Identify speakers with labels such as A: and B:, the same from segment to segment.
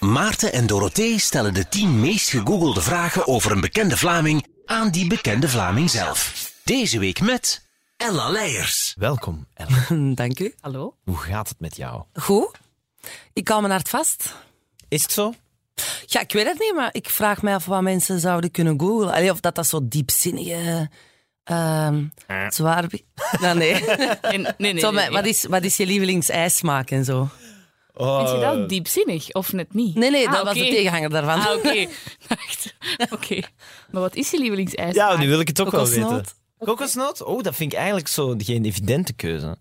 A: Maarten en Dorothee stellen de 10 meest gegoogelde vragen over een bekende Vlaming aan die bekende Vlaming zelf. Deze week met Ella Leijers.
B: Welkom, Ella.
C: Dank u.
D: Hallo?
B: Hoe gaat het met jou?
C: Goed. Ik hou mijn hart vast.
B: Is het zo?
C: Ja, ik weet het niet, maar ik vraag mij af wat mensen zouden kunnen googlen. Allee, of dat dat zo diepzinnige... ehm
B: Eh.
C: zwaar... Nou, nee.
D: Nee, nee, nee.
C: zo,
D: nee,
C: met- wat, is, wat is je lievelingsijsmaak en zo?
D: Vind je dat diepzinnig of net niet?
C: Nee, nee,
D: Oh. Ah,
C: dat was de
D: oké.
C: tegenhanger daarvan.
D: Ah, oké. Wacht. Oké. Maar wat is je lievelingsijs?
B: Ja, nu wil ik het ook wel weten.
C: Kokosnoot.
B: Kokosnoot? Oh, dat vind ik eigenlijk zo geen evidente keuze.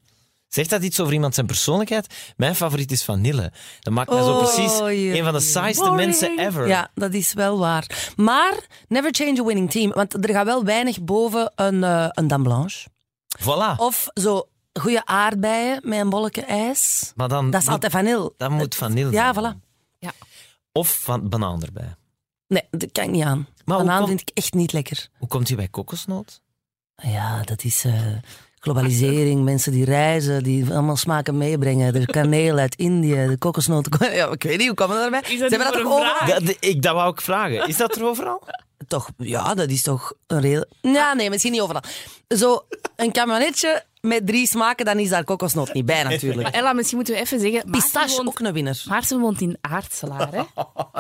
B: Zegt dat iets over iemand zijn persoonlijkheid? Mijn favoriet is vanille. Dat maakt mij zo
C: Oh,
B: precies
C: jee.
B: een van de saaiste
D: Boring.
B: mensen ever.
C: Ja, dat is wel waar. Maar never change a winning team. Want er gaat wel weinig boven een, eh een dame blanche.
B: Voilà.
C: Of zo goede aardbeien met een bolletje ijs.
B: maar dan
C: Dat is
B: moet,
C: altijd vanille.
B: dan moet vanille
C: Ja,
B: zijn.
C: voilà.
B: Of van banaan erbij.
C: Nee, dat kan ik niet aan.
B: Maar hoe
C: Banaan
B: komt-
C: vind ik echt niet lekker.
B: Hoe komt je bij kokosnoot?
C: Ja, dat is eh, globalisering. Mensen die reizen, die allemaal smaken meebrengen. De kaneel uit Indië, de kokosnoten. Ja, ik weet niet, hoe komen we daarbij?
D: Is dat niet voor een
C: Ah,
D: vraag?
B: Dat, ik, dat wou ik vragen. Is dat er overal?
C: Toch, ja, dat is toch een reden. Ja, nee, misschien niet overal. Zo, een kamionetje met drie smaken, dan is daar kokosnoot niet bij natuurlijk.
D: Maar Ella, misschien moeten we even zeggen... Maarten
C: Pistache,
D: woont-
C: ook een winnaar.
D: Maarten woont in Aartselaar, hè?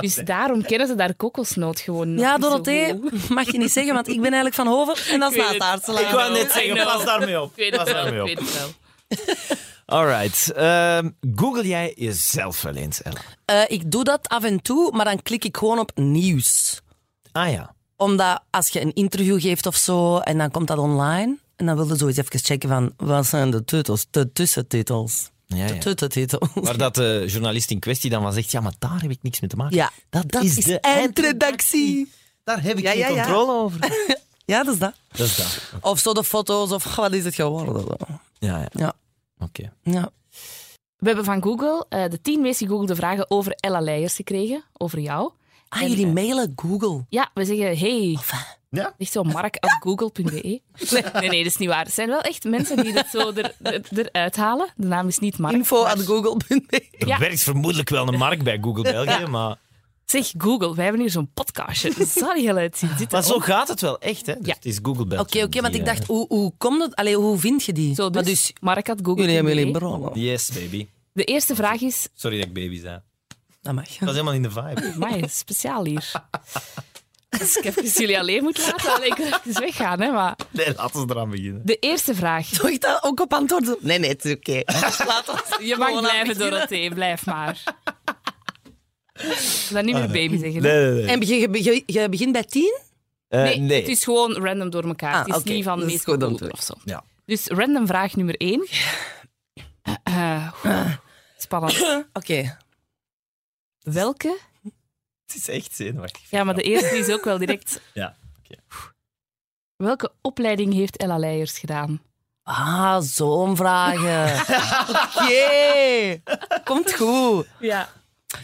D: Dus daarom kennen ze daar kokosnoot gewoon nog
C: Ja,
D: niet zo
C: Dorothee,
D: goed.
C: mag je niet zeggen, want ik ben eigenlijk van Hoven en dat is
D: Ik weet het.
C: Naartaartselaar.
B: Ik wou net
D: I
B: zeggen,
D: know.
B: pas daarmee op.
D: Ik weet het
B: Pas
D: wel,
B: daarmee
D: ik
B: op.
D: weet het wel.
B: Alright. ehm, Google jij jezelf wel eens, Ella?
C: Eh, ik doe dat af en toe, maar dan klik ik gewoon op nieuws.
B: Ah ja.
C: Omdat als je een interview geeft of zo, en dan komt dat online, en dan wil je zo eens even checken van, wat zijn de titels, de tussentitels,
B: Ja,
C: de
B: ja.
C: tussentitels.
B: Maar dat de journalist in kwestie dan wel zegt, ja, maar daar heb ik niks mee te maken.
C: Ja,
B: dat,
C: dat
B: is,
C: is
B: de
C: eindredactie.
B: Daar heb ik
C: Ja,
B: geen
C: ja, ja.
B: controle over.
C: Ja, dat is dat.
B: Dat is dat.
C: Of zo de foto's, of wat is het geworden?
B: Ja, ja.
C: Ja,
B: Oké.
C: ja.
D: We hebben van Google eh, de tien meest gegoogelde vragen over Ella Leijers gekregen. Over jou.
C: Ah,
D: En,
C: jullie
D: eh,
C: mailen Google.
D: Ja, we zeggen hey.
C: eh.
B: Ja?
D: Echt zo mark.google.be. Nee, nee, dat is niet waar. Het zijn wel echt mensen die dat zo er, er- eruit halen. De naam is niet Mark.
C: Info
D: maar-
C: at google.be.
B: Er
D: Ja.
B: werkt vermoedelijk wel een markt bij Google België, maar...
D: Zeg Google, wij hebben hier zo'n podcastje. Dat zal heel uitzien. Zit er
B: Maar zo
D: ook.
B: gaat het wel echt, hè? Dus
D: Ja.
B: Het is Google België.
C: Oké, oké, want
B: die,
C: ik
B: eh,
C: dacht, hoe, hoe komt dat? Allee, hoe vind je die?
D: Zo,
C: Maar
D: dus,
C: dus
D: Mark had Google.
C: jullie hebben jullie
D: TV.
C: bronnen.
B: Yes, baby.
D: De eerste vraag is...
B: Sorry dat ik baby zei.
C: Dat mag.
B: Ik was helemaal in de vibe.
D: Amai, speciaal hier. Dus ik heb jullie alleen moeten laten. Allee, ik wil even weggaan, hè. Maar
B: Nee, laten we eraan beginnen.
D: de eerste vraag.
C: Doe ik dat ook op antwoord? Nee, nee, het is oké. Laat ons-
D: Je
C: gewoon
D: mag
C: aan
D: blijven,
C: beginnen.
D: Dorothee. Blijf maar. Dan niet meer baby zeggen. hè.
B: Ah, Nee, nee, nee.
C: En begin- je, begin- je begint bij tien?
B: Eh,
D: Nee,
B: nee.
D: het is gewoon random door elkaar.
C: Ah,
D: het is
C: oké.
D: niet van
C: Dat is
D: meest
C: goed
D: goed
C: antwoord.
D: of zo.
B: Ja.
D: Dus random vraag nummer één. Eh, eh, spannend.
C: Oké.
D: Welke?
B: Het is echt zenuwachtig.
D: Ja, maar de eerste is ook wel direct.
B: Ja.
D: Welke opleiding heeft Ella Leijers gedaan?
C: Ah, zo'n vragen. oké. Komt goed.
D: Ja.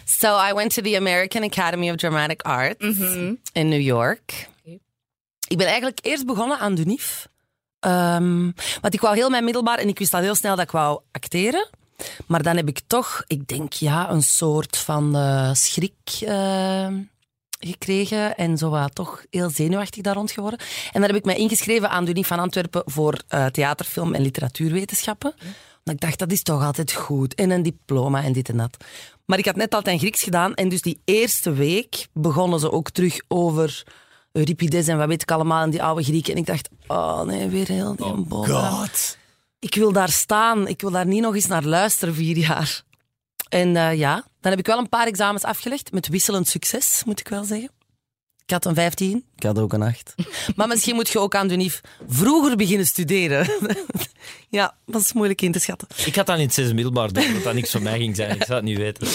C: So I went to the American Academy of Dramatic Arts
D: Mhm.
C: in New York.
D: Mm. Oké.
C: Ik ben eigenlijk eerst begonnen aan de NIF. Ehm, want ik wou heel mijn middelbaar en ik wist al heel snel dat ik wou acteren. Maar dan heb ik toch, ik denk ja, een soort van eh, schrik eh, gekregen. En zo wat toch heel zenuwachtig daar rond geworden. En dan heb ik mij ingeschreven aan de Unie van Antwerpen voor eh, theater, film en literatuurwetenschappen. Want ik dacht, dat is toch altijd goed. En een diploma en dit en dat. Maar ik had net altijd Grieks gedaan. En dus die eerste week begonnen ze ook terug over Euripides en wat weet ik allemaal. En die oude Grieken. En ik dacht, oh nee, weer heel die boel.
B: God.
C: Ik wil daar staan. Ik wil daar niet nog eens naar luisteren vier jaar. En eh, ja, dan heb ik wel een paar examens afgelegd. Met wisselend succes, moet ik wel zeggen. Ik had een 15. Ik had ook een 8. maar misschien moet je ook aan de NIF vroeger beginnen studeren. ja, dat is moeilijk in te schatten.
B: Ik had dat in het zesde middelbaar door, dat dat niks voor mij ging zijn. Ik zou het niet weten.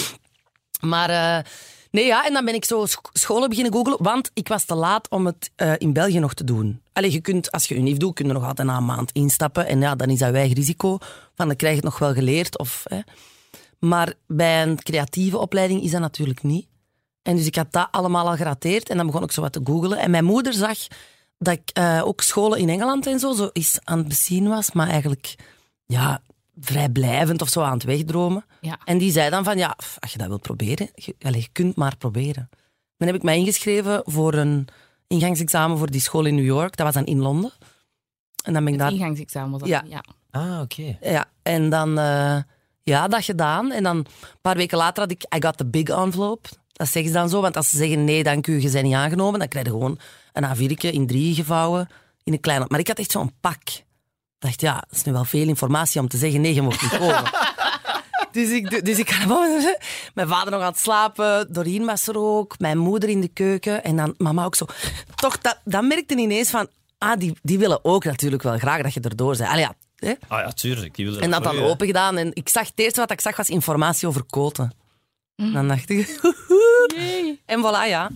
C: Maar eh, nee, ja, en dan ben ik zo scho- scholen beginnen googlen, want ik was te laat om het eh, in België nog te doen. Allee, je kunt, als je unief doet, kun je nog altijd na een maand instappen. En ja, dan is dat wij risico van, dan krijg je het nog wel geleerd. Of, hè. Maar bij een creatieve opleiding is dat natuurlijk niet. En dus ik had dat allemaal al gerateerd en dan begon ik zo wat te googlen. En mijn moeder zag dat ik eh, ook scholen in Engeland en zo, zo eens aan het bezien was, maar eigenlijk ja, vrijblijvend of zo aan het wegdromen.
D: Ja.
C: En die zei dan van, ja, pff, als je dat wilt proberen, je, allee, je kunt maar proberen. Dan heb ik mij ingeschreven voor een ingangsexamen voor die school in New York. Dat was dan in Londen. En dan ben ik
D: Het
C: daar...
D: ingangsexamen was dat.
C: Ah. Ja.
D: Ja.
B: Ah, oké.
C: Ja, en dan... eh, ja, dat gedaan. En dan een paar weken later had ik... I got the big envelope. Dat zeggen ze dan zo. Want als ze zeggen nee, dank u, je bent niet aangenomen, dan krijg je gewoon een A4'tje in drie gevouwen in een kleine... Maar ik had echt zo'n pak. Ik dacht, ja, dat is nu wel veel informatie om te zeggen nee, je mocht niet komen. Dus ik, doe- dus ik Mijn vader nog aan het slapen, Doreen was er ook, mijn moeder in de keuken en dan mama ook zo. Toch, dat, dat merkte ineens van, ah, die, die willen ook natuurlijk wel graag dat je erdoor bent. Allee, ja, hè?
B: Ah ja, tuurlijk. Die wilde
C: En dat
B: voor
C: dan
B: u, hè.
C: open gedaan. En ik zag, het eerste wat ik zag was informatie over koten. Dan dacht ik, en voilà, ja.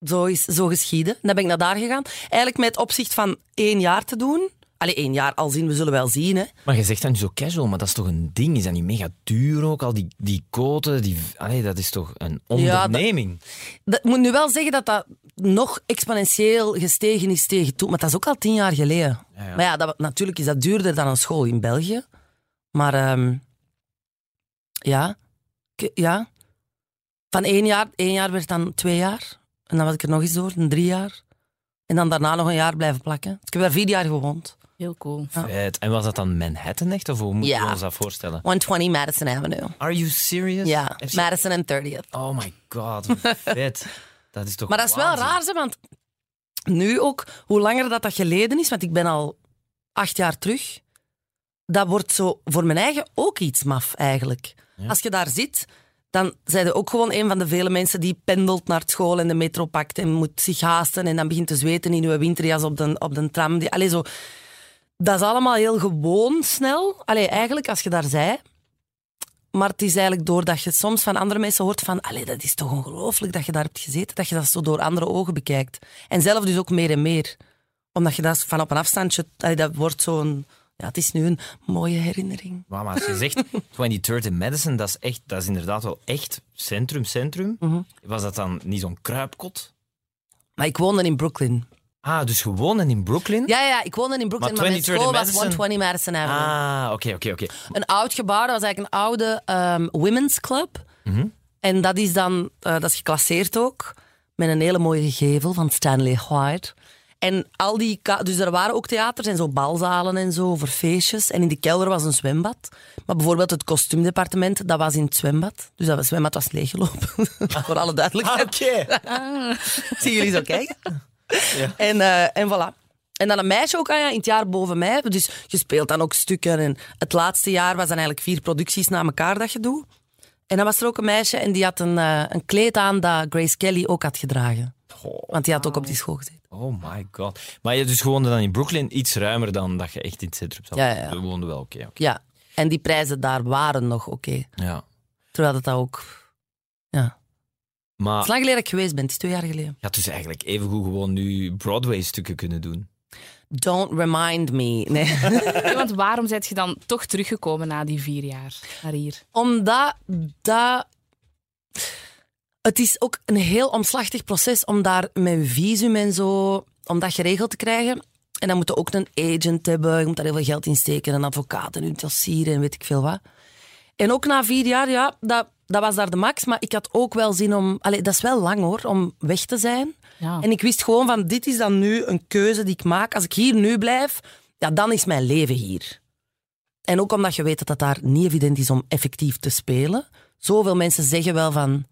C: Zo is zo geschieden. Dan ben ik naar daar gegaan. Eigenlijk met het opzicht van één jaar te doen. Allee, één jaar, al zien, we zullen wel zien. Hè.
B: Maar je zegt dat nu zo casual, maar dat is toch een ding? Is dat niet mega duur ook? Al die, die koten, die... Allee, dat is toch een
C: dat-
B: onderneming?
C: Dat, ik moet nu wel zeggen dat dat nog exponentieel gestegen is tegen toen. Maar dat is ook al tien jaar geleden.
B: Ja, ja.
C: Maar ja, dat, natuurlijk is dat duurder dan een school in België. Maar ehm, ja, Ik- ja. Van één jaar, één jaar werd dan twee jaar. En dan was ik er nog eens door, een drie jaar. En dan daarna nog een jaar blijven plakken. Dus ik heb daar vier jaar gewoond.
D: Heel cool.
B: Vet. En was dat dan Manhattan echt? Of hoe moeten
C: Ja.
B: we ons dat voorstellen?
C: 120 Madison Avenue.
B: Are you serious?
C: Ja,
B: Heb je-
C: Madison en 30th.
B: Oh my god, wat vet. Dat is toch
C: Maar dat is wel
B: waanzin.
C: raar, ze, want nu ook, hoe langer dat, dat geleden is, want ik ben al acht jaar terug, dat wordt zo voor mijn eigen ook iets maf eigenlijk. Als je daar zit, dan zijn je ook gewoon een van de vele mensen die pendelt naar school en de metro pakt en moet zich haasten en dan begint te zweten in uw winterjas op de, op de tram. Die, allee, zo. Dat is allemaal heel gewoon snel. Allee, eigenlijk als je daar zij. Maar het is eigenlijk doordat je soms van andere mensen hoort van allee, dat is toch ongelooflijk dat je daar hebt gezeten, dat je dat zo door andere ogen bekijkt. En zelf dus ook meer en meer. Omdat je dat van op een afstandje, allee, dat wordt zo'n... Ja, het is nu een mooie herinnering.
B: Wauw, maar als je zegt 23rd in Madison, dat is, echt, dat is inderdaad wel echt centrum, centrum.
C: Mhm.
B: Was dat dan niet zo'n kruipkot?
C: Maar ik woonde in Brooklyn.
B: Ah, dus gewoon en in Brooklyn?
C: Ja, ja, ik woonde in Brooklyn, maar,
B: Maar
C: mijn
B: 23rd
C: school was
B: Madison?
C: 120 Madison Avenue.
B: Ah, oké, oké, oké.
C: Een oud gebouw, dat was eigenlijk een oude ehm, women's club. En dat is dan, eh, dat is geclasseerd ook, met een hele mooie gevel van Stanley White. En al die, ka- dus er waren ook theaters en zo balzalen en zo voor feestjes. En in de kelder was een zwembad. Maar bijvoorbeeld het kostuumdepartement, dat was in het zwembad. Dus dat zwembad was leeggelopen, voor alle
B: Ah,
C: duidelijkheid.
B: oké.
C: Zien jullie zo kijken? En, eh, en voilà. En dan een meisje ook aan, ja, in het jaar boven mij. Dus je speelt dan ook stukken. En het laatste jaar was dan eigenlijk vier producties na elkaar dat je doet. En dan was er ook een meisje en die had een, eh, een kleed aan dat Grace Kelly ook had gedragen. Want die had ook op die school gezeten.
B: Oh my god. Maar je dus woonde dan in Brooklyn iets ruimer dan dat je echt in het centrum zat.
C: Ja, ja, ja.
B: Je woonde wel, oké. oké.
C: Ja. En die prijzen daar waren nog oké.
B: Ja.
C: Terwijl dat, dat ook... Ja. Het
B: Maar
C: is lang geleden dat ik geweest ben. Het is twee jaar geleden.
B: je had dus eigenlijk evengoed gewoon nu Broadway-stukken kunnen doen.
C: Don't remind me. Nee.
D: Nee, want waarom ben je dan toch teruggekomen na die vier jaar naar hier?
C: Omdat dat... Het is ook een heel omslachtig proces om daar met je visum en zo... om dat geregeld te krijgen. En dan moet je ook een agent hebben. Je moet daar heel veel geld in steken. Een advocaat en een dossier en weet ik veel wat. En ook na vier jaar, ja, dat, dat was daar de max. Maar ik had ook wel zin om... Allee, dat is wel lang hoor, om weg te zijn.
D: Ja.
C: En ik wist gewoon van, dit is dan nu een keuze die ik maak. Als ik hier nu blijf, ja, dan is mijn leven hier. En ook omdat je weet dat dat daar niet evident is om effectief te spelen. Zoveel mensen zeggen wel van...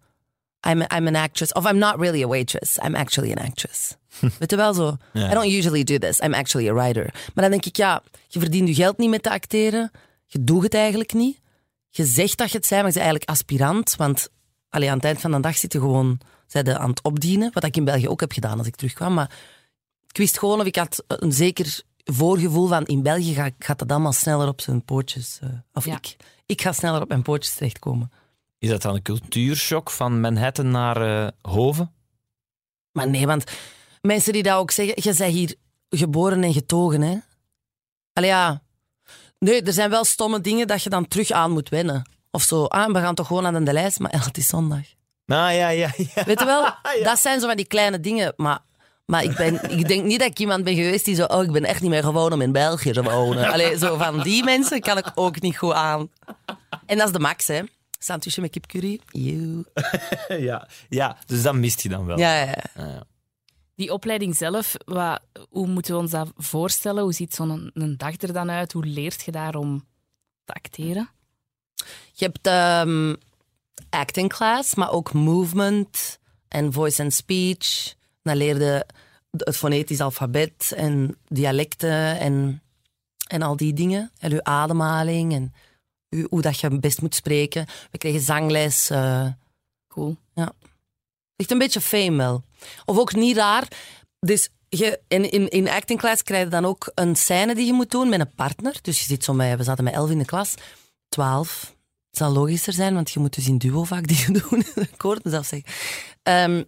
C: I'm, a- I'm an actress. Of I'm not really a waitress. I'm actually an actress. weet je wel zo? I don't usually do this. I'm actually a writer. Maar dan denk ik, ja, je verdient je geld niet met te acteren. Je doet het eigenlijk niet. Je zegt dat je het bent, maar je bent eigenlijk aspirant. Want allee, aan het eind van de dag zit je gewoon zij de aan het opdienen. Wat ik in België ook heb gedaan als ik terugkwam. Maar ik wist gewoon of ik had een zeker voorgevoel van in België ga- gaat dat allemaal sneller op zijn pootjes. eh, of
D: Ja.
C: ik, ik ga sneller op mijn pootjes terechtkomen.
B: Is dat dan een cultuurshock van Manhattan naar eh, Hoven?
C: Maar nee, want mensen die dat ook zeggen, je bent hier geboren en getogen, hè? Allee, ja. Nee, er zijn wel stomme dingen dat je dan terug aan moet wennen. Of zo, ah, we gaan toch gewoon aan de lijst, maar ja, het is zondag.
B: Nou ja, ja, ja.
C: Weet je wel, dat zijn zo van die kleine dingen. Maar Maar ik, ben, ik denk niet dat ik iemand ben geweest die zo... Oh, ik ben echt niet meer gewoon om in België te wonen. Allee, zo van die mensen kan ik ook niet goed aan. En dat is de max, hè. Santucci met kipcurry. Eeuw.
B: ja. ja, dus dat mist je dan wel.
C: Ja, ja, ja.
B: Ah, ja.
D: Die opleiding zelf, wat, hoe moeten we ons dat voorstellen? Hoe ziet zo'n een dag er dan uit? Hoe leert je daar om te acteren?
C: Je hebt ehm, acting class, maar ook movement en voice and speech. Dan leerde het fonetisch alfabet en dialecten en, en al die dingen. En uw ademhaling en uw- hoe dat je best moet spreken. We kregen zangles. eh,
D: Cool.
C: Echt een beetje fame wel. Of ook niet raar. Dus je, in, in, in acting class krijg je dan ook een scène die je moet doen met een partner. Dus je zit zo met, we zaten met elf in de klas, twaalf. Het zal logischer zijn, want je moet dus in duo vaak dingen doen. ik hoor het mezelf zeggen. Ehm,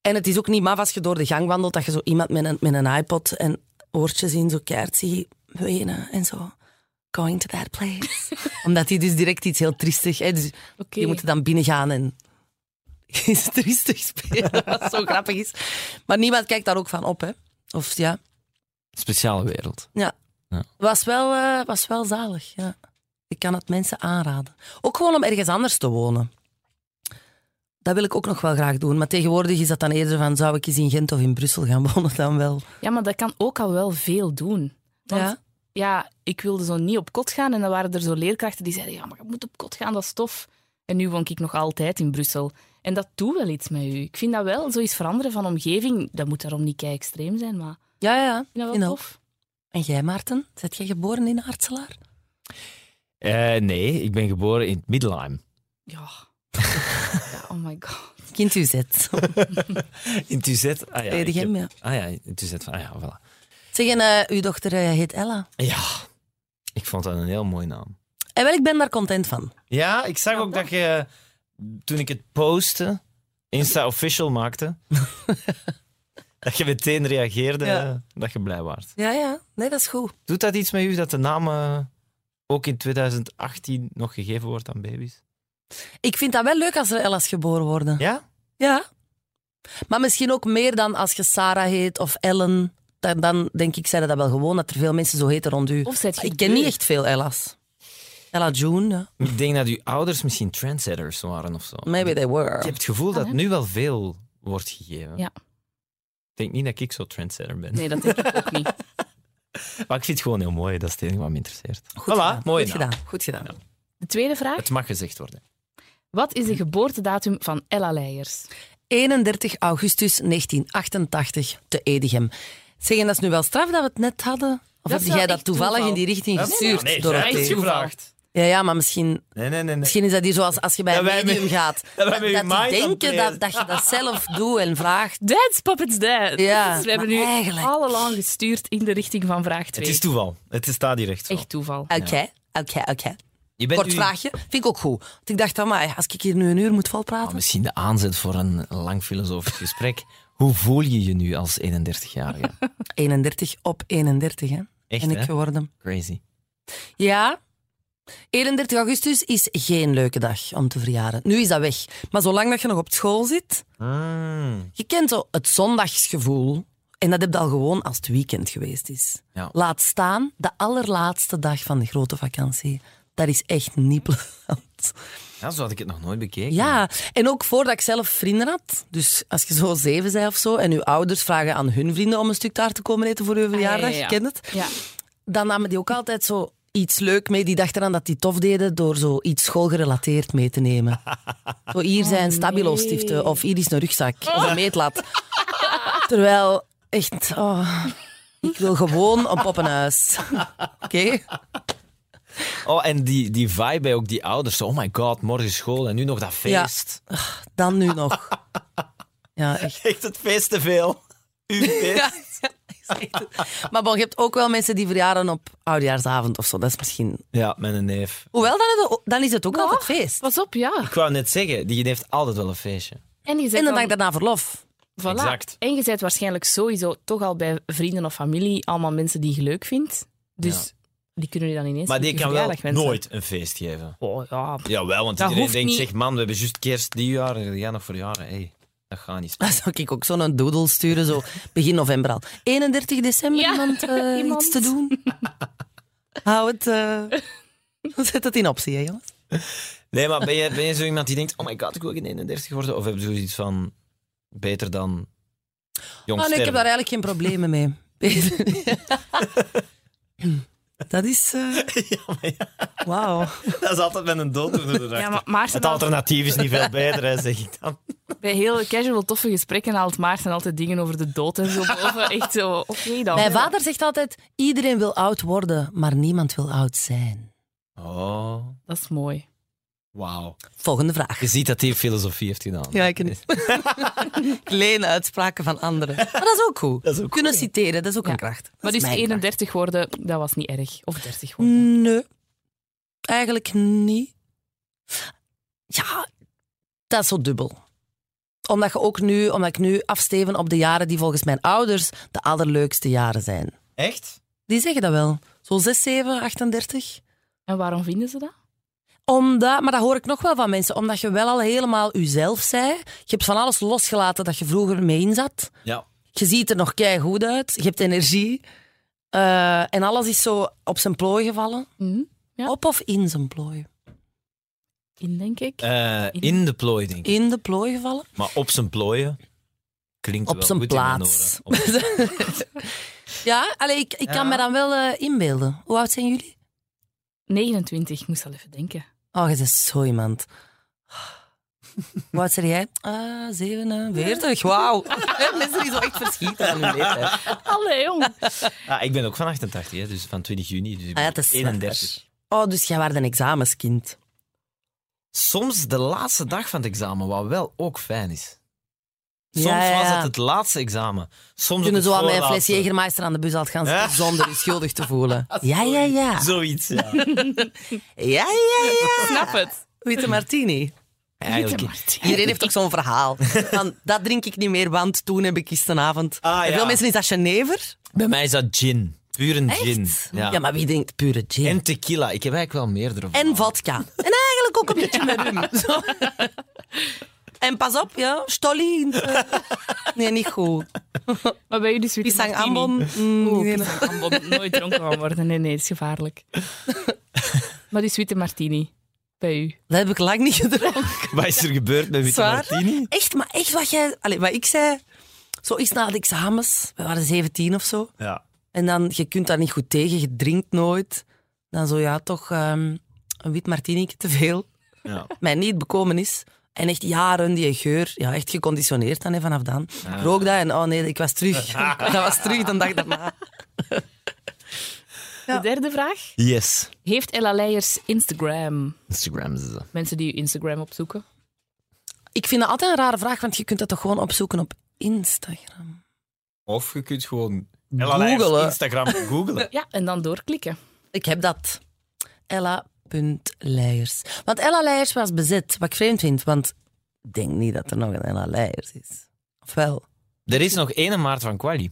C: en het is ook niet maf als je door de gang wandelt, dat je zo iemand met een, met een iPod en oortjes in zo keert zie wenen en zo. Going to that place. Omdat die dus direct iets heel triestig... Hè, dus
D: Oké.
C: je moet er dan binnen gaan en is triestig spelen, wat zo grappig is. Maar niemand kijkt daar ook van op, hè. Of ja,
B: Speciale wereld.
C: was wel, eh, was wel zalig, ja. Ik kan het mensen aanraden. Ook gewoon om ergens anders te wonen. Dat wil ik ook nog wel graag doen. Maar tegenwoordig is dat dan eerder van, zou ik eens in Gent of in Brussel gaan wonen dan wel?
D: Ja, maar dat kan ook al wel veel doen. Want ja.
C: Ja.
D: ik wilde zo niet op kot gaan en dan waren er zo leerkrachten die zeiden, ja, maar je moet op kot gaan, dat is tof. En nu woon ik nog altijd in Brussel. En dat doet wel iets met u. Ik vind dat wel, zoiets veranderen van omgeving, dat moet daarom niet kei extreem zijn, maar ik
C: Ja, ja.
D: vind dat wel
C: You know.
D: tof.
C: En jij, Maarten? Zet jij geboren in Artselaar?
B: Eh, nee, ik ben geboren in Middelheim.
D: Ja. ja. Oh my god.
C: Kind u zet.
B: In Tuzet. Ah ja,
C: Weet
B: ik
C: je hem,
B: heb- Ah ja, in Tuzet. Van, ah ja, voilà.
C: Zeg, en eh, uw dochter eh, heet Ella.
B: Ja, ik vond dat een heel mooie naam.
C: En wel, ik ben daar content van.
B: Ja, ik zag ook dat je, toen ik het postte, Insta official maakte, dat je meteen reageerde,
C: Ja.
B: dat je blij waart.
C: Ja, ja. Nee, dat is goed.
B: Doet dat iets met u dat de naam eh, ook in 2018 nog gegeven wordt aan baby's?
C: Ik vind dat wel leuk als er Ella's geboren worden.
B: Ja?
C: Ja. Maar misschien ook meer dan als je Sarah heet of Ellen. Dan, dan denk ik, zeiden dat wel gewoon, dat er veel mensen zo heten rond u.
D: Of zet je
C: ik
D: het
C: ken niet
D: leuk?
C: echt veel Ella's. Ella June, ja.
B: Ik denk dat uw ouders misschien trendsetters waren of zo.
C: maybe they
B: Ik heb
C: were.
B: het gevoel
D: Kan,
B: dat
D: hè?
B: nu wel veel wordt gegeven.
D: Ja.
B: Ik denk niet dat ik zo trendsetter ben.
D: Nee, dat denk ik ook niet.
B: Maar ik vind het gewoon heel mooi. Dat is het enige wat me interesseert.
C: Goed
B: voilà,
C: gedaan.
B: mooi
C: Goed
B: naam.
C: gedaan. Goed gedaan.
D: De tweede vraag.
B: Het mag gezegd worden.
D: Wat is de geboortedatum van Ella Leijers?
C: 31 augustus 1988 te Edegem. Zeg, en dat is nu wel straf dat we het net hadden? Of heb
D: Dat is
C: jij
D: wel
C: dat
D: echt
C: toevallig
D: toeval.
C: in die richting gestuurd,
B: nee,
C: door
B: zij heeft gevraagd.
C: Ja, ja, maar misschien
B: Nee, nee, nee. nee.
C: Misschien is dat hier zoals als je bij
B: Dat
C: een
B: wij met-
C: medium gaat.
B: dat wij met je
C: die
B: mind
C: denken
B: optreden.
C: dat, dat je dat zelf doet en vraagt.
D: Dance Puppets Dance.
C: Ja,
D: Dus we hebben
C: maar
D: nu
C: eigenlijk-
D: allelang gestuurd in de richting van vraag 2.
B: Het is toeval. Het staat hier echt zo.
D: Echt toeval.
C: Oké, oké, oké.
B: Je bent
C: Kort
B: nu-
C: vraagje. Vind ik ook goed. Want ik dacht, amai, als ik hier nu een uur moet
B: Ah,
C: volpraten.
B: misschien de aanzet voor een lang filosofisch gesprek. Hoe voel je je nu als 31-jarige?
C: 31 op 31, hè.
B: Echt,
C: ben ik
B: hè?
C: geworden.
B: Crazy.
C: Ja. 31 augustus is geen leuke dag om te verjaren. Nu is dat weg. Maar zolang dat je nog op school zit,
B: Mm.
C: je kent zo het zondagsgevoel. En dat heb je al gewoon als het weekend geweest is.
B: Ja.
C: Laat staan, de allerlaatste dag van de grote vakantie. Dat is echt niet plezant.
B: ja, zo had ik het nog nooit bekeken.
C: Ja, en ook voordat ik zelf vrienden had. Dus als je zo zeven zei of zo, en uw ouders vragen aan hun vrienden om een stuk taart te komen eten voor uw verjaardag,
D: Ah, ja, ja.
C: je kent het.
D: Ja.
C: Dan namen die ook altijd zo iets leuk mee. Die dachten dan dat die tof deden door zo iets schoolgerelateerd mee te nemen. Zo, hier
B: Oh,
C: zijn stabilo-stiften, of hier is een rugzak, of een meetlat. Terwijl, echt, oh, ik wil gewoon een poppenhuis. Oké?
B: Oh, en die, die vibe bij ook die ouders. Zo, Oh my god, morgen school en nu nog dat feest.
C: Dan nu nog. Ja, echt.
B: Echt het feest te veel. Uw feest.
C: Ja, ja, ik zeg het. Maar bon, je hebt ook wel mensen die verjaren op oudjaarsavond of zo. Dat is misschien...
B: Ja, met een neef.
C: Hoewel, dan, is het- dan is het ook altijd feest.
D: Pas op, ja.
B: Ik wou net zeggen, die heeft altijd wel een feestje.
D: En je
C: En
D: zet
C: de dag
D: dan,
C: daarna verlof.
D: voilà.
B: Exact.
D: En je bent waarschijnlijk sowieso toch al bij vrienden of familie allemaal mensen die je leuk vindt. Dus die kunnen je dan ineens
B: Maar die
D: op je
B: kan wel
D: verjaardag wensen.
B: nooit een feest geven.
D: Oh, ja.
B: Jawel, want
D: Dat
B: iedereen
D: hoeft
B: denkt,
D: niet.
B: zeg man, we hebben juist kerst die jaar, en jij nog voor jaren. Hey. Dat gaat niet.
C: Dan zou ik ook zo'n doodle sturen, zo begin november al. 31 december
D: Ja,
C: iemand, eh,
D: iemand.
C: iets te doen. Hou het... eh, Zet het in optie, hè, jongens.
B: Nee, maar ben je, ben je zo iemand die denkt, oh my god, ik wil geen 31 worden? Of heb je zoiets van, beter dan jong
C: Ah, nee, ik
B: sterven?
C: heb daar eigenlijk geen problemen mee. Dat is... eh,
B: Ja, maar ja,
C: Wauw.
B: dat is altijd met een dooddoener erachter.
D: Ja, maar Maarten
B: Het
D: haalt-
B: alternatief is niet veel beter, hè, zeg ik dan.
D: bij heel casual toffe gesprekken haalt Maarten altijd dingen over de dood en zo boven. Echt zo, oké dan.
C: Mijn vader zegt altijd, iedereen wil oud worden, maar niemand wil oud zijn.
B: Oh,
D: Dat is mooi.
B: wauw.
C: Volgende vraag.
B: Je ziet dat hij filosofie heeft gedaan.
C: Ja, ik niet. Ik leen uitspraken van anderen. Maar dat is ook goed.
B: is ook
C: Kunnen citeren, dat is ook een kracht. Dat
D: Maar
C: is
D: dus
C: mijn Mm. kracht.
D: 31 worden, dat was niet erg. Of 30 worden.
C: Nee, eigenlijk niet. Ja, dat is zo dubbel. Omdat, je ook nu, omdat ik nu afsteven op de jaren die volgens mijn ouders de allerleukste jaren zijn.
B: Echt?
C: Die zeggen dat wel. Zo 6, 7, 38.
D: En waarom vinden ze dat?
C: Omdat, maar dat hoor ik nog wel van mensen. Omdat je wel al helemaal jezelf zei. Je hebt van alles losgelaten dat je vroeger mee in zat.
B: Ja.
C: Je ziet er nog goed uit. Je hebt energie. Eh, en alles is zo op zijn plooi gevallen.
D: Hm? Ja.
C: Op of in zijn plooi?
D: In, denk ik.
B: Eh, in de plooi, denk ik.
C: In de plooi gevallen?
B: Maar op zijn plooien klinkt
C: Op
B: wel
C: zijn
B: goed in mijn
C: plaats.
B: oren. Op-
C: ja, allee, ik, ik
B: Ja.
C: kan me dan wel eh, inbeelden. Hoe oud zijn jullie?
D: 29, ik moest al even denken.
C: Oh, je bent zo iemand. Hoe oud ben jij? Ah, 47. Wauw. Mensen die zo echt verschieten van hun leeftijd.
D: Allee, jong.
B: Ah, ik ben ook van 88, hè, dus van 20 juni. Dus ik
C: Ah, ja,
B: ben
C: het is
B: 31.
C: Oh, dus jij was een examenskind.
B: Soms de laatste dag van het examen, wat wel ook fijn is. Soms
C: Ja, ja,
B: was
C: ja.
B: het het laatste examen. Soms
C: Kunnen
B: het
C: zo aan mijn
B: voorlaatste.
C: fles Jägermeister aan de bus had gaan
B: Ja.
C: zitten zonder je schuldig te voelen. Ja, ja, ja.
B: Zoiets, ja.
C: Ja, ja, ja.
D: Snap het.
C: Witte martini.
B: Eigenlijk.
C: Iedereen heeft ook zo'n verhaal. Van, dat drink ik niet meer, want toen heb ik gisteravond...
B: Ah,
C: Bij
B: ja.
C: Veel mensen is dat Genever.
B: Bij mij is dat gin. Puur een gin.
C: Ja. maar wie drinkt pure gin?
B: En tequila. Ik heb eigenlijk wel meerdere
C: En
B: verhalen.
C: vodka. En eigenlijk ook een beetje met rum. Zo. En pas op, ja, Stolin. Nee, niet goed.
D: Maar bij jullie zoiets.
C: Pisang Ambon. mm,
D: Oeh,
C: nee, nee.
D: pisang ambon. Nooit dronken van worden. Nee, nee, dat is gevaarlijk. Maar die witte martini, bij u.
C: Dat heb ik lang niet gedronken.
B: Wat is er gebeurd met Witte
C: Zwaar?
B: Martini?
C: Echt, maar echt wat jij... Allee, wat ik zei, zo iets na de examens. We waren 17 of zo.
B: Ja.
C: En dan, je kunt daar niet goed tegen, je drinkt nooit. Dan zo, ja, toch ehm, een wit martini te veel.
B: Ja.
C: Mij niet bekomen is. En echt jaren die geur, ja, echt geconditioneerd dan, hè, vanaf dan. Ik rook dat en oh nee, ik was terug. dat was terug de dag daarna. Ja.
D: De derde vraag.
B: Yes.
D: Heeft Ella Leijers Instagram?
B: Instagram is dat.
D: Mensen die uw Instagram opzoeken.
C: Ik vind dat altijd een rare vraag, want je kunt dat toch gewoon opzoeken op Instagram.
B: Of je kunt gewoon
C: Ella Leijers Googelen.
B: Instagram googelen.
D: Ja, en dan doorklikken.
C: Ik heb dat. Ella.leijers. Want Ella Leijers was bezet, wat ik vreemd vind, want ik denk niet dat er nog een Ella Leijers is. Of wel?
B: Er is nog één Maart van Quali.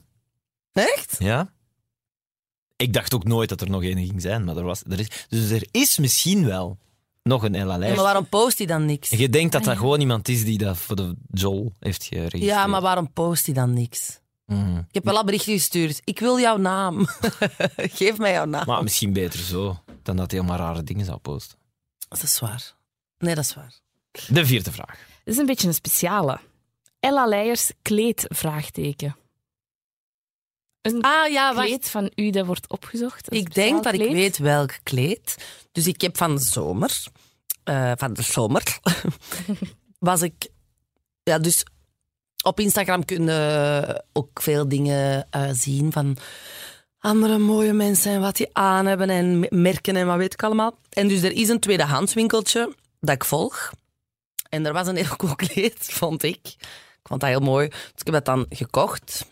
C: Echt?
B: Ja? Ik dacht ook nooit dat er nog één ging zijn, maar er was, er is, dus er is misschien wel nog een Ella
C: Ja,
B: Leijers.
C: maar waarom post hij dan niks?
B: En Je denkt dat dat gewoon iemand is die dat voor de Joel heeft geregistreerd.
C: Ja, maar waarom post hij dan niks?
B: Mhm.
C: Ik heb wel al berichtje gestuurd. Ik wil jouw naam. Geef mij jouw naam.
B: Maar misschien beter zo dan dat hij helemaal rare dingen zou posten.
C: Dat is waar. Nee, dat is waar.
B: De vierde vraag.
D: Dit is een beetje een speciale. Ella Leijers kleed? Vraagteken. Een
C: Ah ja, wacht.
D: kleed van u dat wordt opgezocht. Een
C: Ik denk dat
D: speciaal
C: ik
D: kleed?
C: weet welk kleed. Dus ik heb van de zomer, eh, van de zomer, was ik. Ja, dus op Instagram kunnen ook veel dingen eh, zien van andere mooie mensen en wat die aan hebben en me- merken en wat weet ik allemaal. En dus er is een tweedehandswinkeltje dat ik volg. En er was een heel cool kleed, vond ik. Ik vond dat heel mooi. Dus ik heb dat dan gekocht.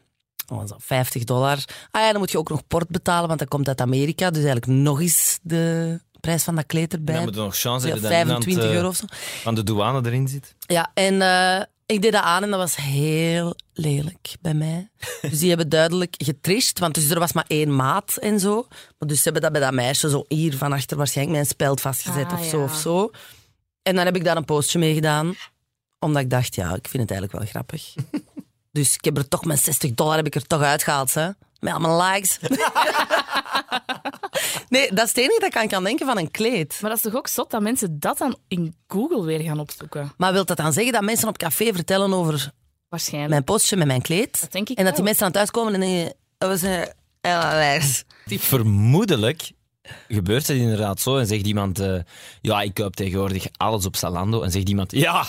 C: Dat was dan 50 dollar. Ah ja, dan moet je ook nog port betalen, want dat komt uit Amerika. Dus eigenlijk nog eens de prijs van dat kleed
B: Dan
C: erbij.
B: moeten we nog chance
C: Ja,
B: hebben dat
C: 25
B: iemand, eh,
C: euro of zo.
B: van de douane erin zit.
C: Ja, en eh, ik deed dat aan en dat was heel lelijk bij mij. Dus die hebben duidelijk getrist, want dus er was maar één maat en zo. Maar dus ze hebben dat bij dat meisje zo hier van achter waarschijnlijk mijn speld vastgezet
D: Ah,
C: of zo
D: ja.
C: of zo. En dan heb ik daar een postje mee gedaan Omdat ik dacht, ja, ik vind het eigenlijk wel grappig. dus ik heb er toch mijn 60 dollar heb ik er toch uitgehaald, hè. Met al mijn likes. nee, dat is het enige dat ik aan kan denken van een kleed.
D: Maar dat is toch ook zot dat mensen dat dan in Google weer gaan opzoeken?
C: Maar wil dat dan zeggen dat mensen op café vertellen over
D: Waarschijnlijk.
C: mijn postje met mijn kleed?
D: Dat denk ik
C: en dat die
D: wel.
C: mensen aan het uitkomen en denken, dat was eh, een Ella Wijs.
B: Vermoedelijk gebeurt het inderdaad zo en zegt iemand... eh, ja, ik koop tegenwoordig alles op Zalando. En zegt iemand... Ja,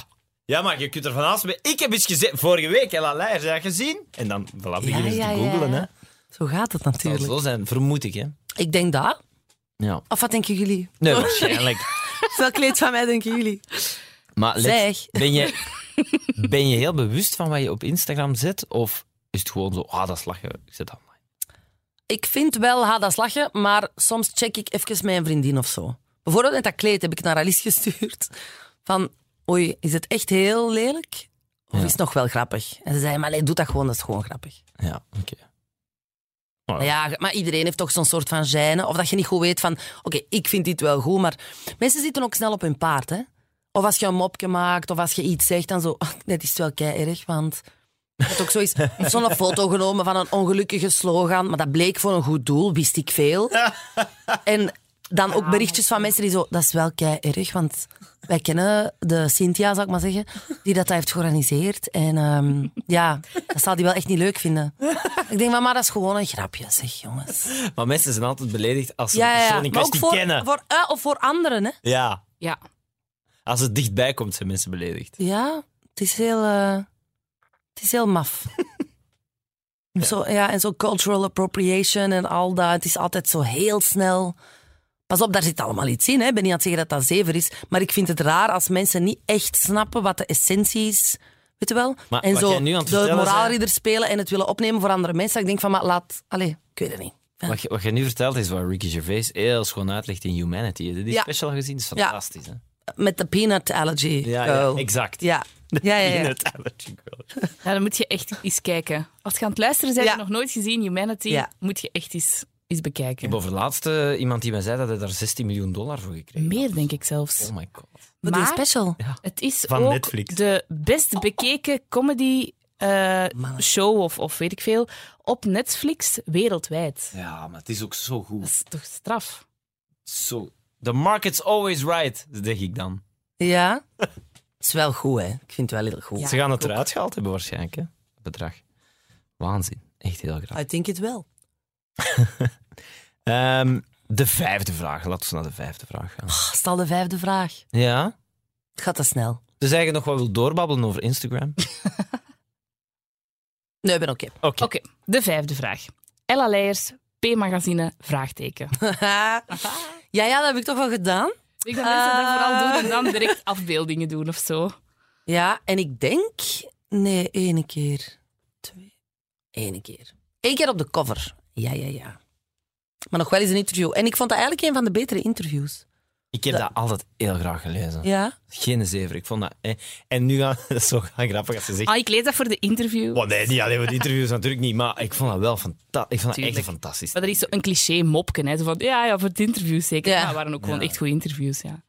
B: ja maar je kunt er van alles mee... Ik heb iets gezien vorige week, Ella Leijer, heb je dat gezien? En dan voilà, beginnen ze
C: ja,
B: te
C: ja,
B: googelen.
C: ja.
B: Hè.
C: Zo gaat het
B: Het
C: natuurlijk.
B: zal zo zijn, vermoed ik. Hè.
C: Ik denk dat.
B: Ja.
C: Of wat denken jullie?
B: Nee, waarschijnlijk.
C: Welk kleed van mij denken jullie?
B: Maar let-
C: Zeg.
B: Ben, je, ben je heel bewust van wat je op Instagram zet? Of is het gewoon zo... Ah, dat is lachen. Ik zet dat online.
C: Ik vind wel, ha, dat is lachen, maar soms check ik even mijn vriendin of zo. Bijvoorbeeld met dat kleed heb ik naar Alice gestuurd. Van, oei, is het echt heel lelijk? Of
B: Ja.
C: is het nog wel grappig? En ze zei, maar nee, doe dat gewoon, dat is gewoon grappig.
B: Ja, oké. Ja.
C: Maar Ja, maar iedereen heeft toch zo'n soort van gêne. Of dat je niet goed weet van, oké, ik vind dit wel goed, maar mensen zitten ook snel op hun paard, hè. Of als je een mopje maakt, of als je iets zegt, dan zo, "Ah, nee, dit is wel kei erg, want... Ik had ook zo eens zo'n foto genomen van een ongelukkige slogan, maar dat bleek voor een goed doel, wist ik veel. En dan ook berichtjes van mensen die zo, dat is wel kei erg, want wij kennen de Cynthia, zou ik maar zeggen, die dat heeft georganiseerd. En ehm, ja, dat zal die wel echt niet leuk vinden. Ik denk, van, maar dat is gewoon een grapje, zeg jongens.
B: Maar mensen zijn altijd beledigd als ze de
C: Ja, ja,
B: persoon
C: ja.
B: in
C: Maar ook
B: kwestie
C: voor,
B: kennen.
C: voor, eh, of voor anderen, hè?
B: Ja,
D: Ja.
B: als het dichtbij komt zijn mensen beledigd.
C: Ja, het is heel, eh, het is heel maf. Zo, ja, en zo cultural appropriation en al dat. Het is altijd zo heel snel. Pas op, daar zit allemaal iets in. Hè. Ik ben niet aan het zeggen dat dat zever is. Maar ik vind het raar als mensen niet echt snappen wat de essentie is. Weet je wel?
B: Maar
C: en
B: wat
C: zo
B: jij nu aan het
C: de
B: vertellen
C: moraalridder spelen en het willen opnemen voor andere mensen. Ik denk van, maar laat... Allee, ik weet het niet.
B: Wat je, wat je nu vertelt is wat Ricky Gervais heel schoon uitlegt in Humanity. Heb je die
C: Ja.
B: special gezien? Dat is fantastisch. Hè?
C: Met de peanut allergy
B: Ja,
C: girl.
B: ja, exact.
C: Ja. Ja, ja, ja.
B: In het Allergy Girl.
D: Ja, dan moet je echt eens kijken. Als je aan het luisteren bent,
C: Ja.
D: je nog nooit gezien Humanity,
C: Ja.
D: moet je echt eens, eens
B: Ik
D: bekijken.
B: heb overlaatst eh, iemand die mij zei dat hij daar 16 miljoen dollar voor gekregen had.
D: Meer, denk ik zelfs.
B: Oh my god.
C: Voor die
D: Maar-
C: special.
D: Het is
B: Van
D: ook
B: Netflix.
D: de best bekeken comedy eh, show of, of weet ik veel op Netflix wereldwijd.
B: Ja, maar het is ook zo
D: Dat
B: goed.
D: is toch straf?
B: Zo. The market's always right, denk ik dan.
C: Ja. Het is wel goed, hè. Ik vind het wel heel goed.
D: Ja.
B: Ze gaan het
D: ook.
B: eruit gehaald hebben waarschijnlijk, hè? Het bedrag. Waanzin. Echt heel graag.
C: I think it wel.
B: Ehm, de vijfde vraag. Laten we naar de vijfde vraag gaan.
C: Stel de vijfde vraag.
B: Ja?
C: Het gaat te snel.
B: Dus eigenlijk nog wat wil doorbabbelen over Instagram.
C: Nee, ik ben oké.
B: Oké.
D: Oké, de vijfde vraag. Ella Leijers, P-magazine, vraagteken.
C: Ah. ja, ja, dat heb ik toch wel gedaan.
D: Ik denk dat mensen dat
C: Ah.
D: vooral doen en dan direct afbeeldingen doen of zo.
C: Ja, en ik denk... Nee, ene keer. Twee. Ene keer. Eén keer op de cover. Ja, ja, ja. Maar nog wel eens een interview. En ik vond dat eigenlijk een van de betere interviews.
B: Ik heb dat altijd heel graag gelezen.
C: Ja.
B: Geen zever. Ik vond dat... eh, En nu gaan... Dat is zo grappig als ze zegt...
D: Ah, ik lees dat voor de interview.
B: Oh, nee, niet alleen voor de interviews natuurlijk niet. Maar ik vond dat wel fanta- ik vond dat echt
D: Tuurlijk.
B: fantastisch.
D: Maar er is zo'n cliché mopken, hè. Zo van, ja, ja, voor het interview zeker.
C: Ja.
D: Ja. dat waren ook gewoon echt goede interviews, ja.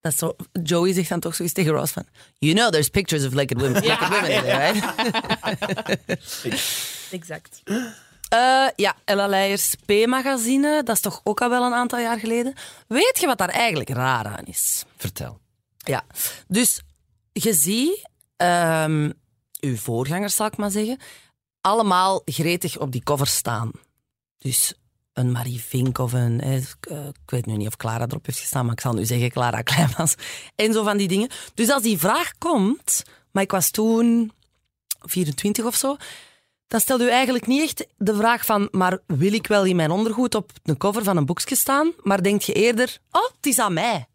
C: Dat is zo, Joey zegt dan toch zoiets tegen Ross van... You know there's pictures of naked women, naked women in there, right?
D: Exact.
C: Eh, ja, Ella Leijers P-magazine. Dat is toch ook al wel een aantal jaar geleden. Weet je wat daar eigenlijk raar aan is?
B: Vertel.
C: Ja, dus je ziet ehm, uw voorgangers, zal ik maar zeggen, allemaal gretig op die cover staan. Dus een Marie Vink of een, eh, eh, ik weet nu niet of Clara erop heeft gestaan, maar ik zal nu zeggen Clara Kleinmans. En zo van die dingen. Dus als die vraag komt, maar ik was toen 24 of zo, dan stelde u eigenlijk niet echt de vraag van, maar wil ik wel in mijn ondergoed op de cover van een boekje staan? Maar denk je eerder, oh, het is aan mij.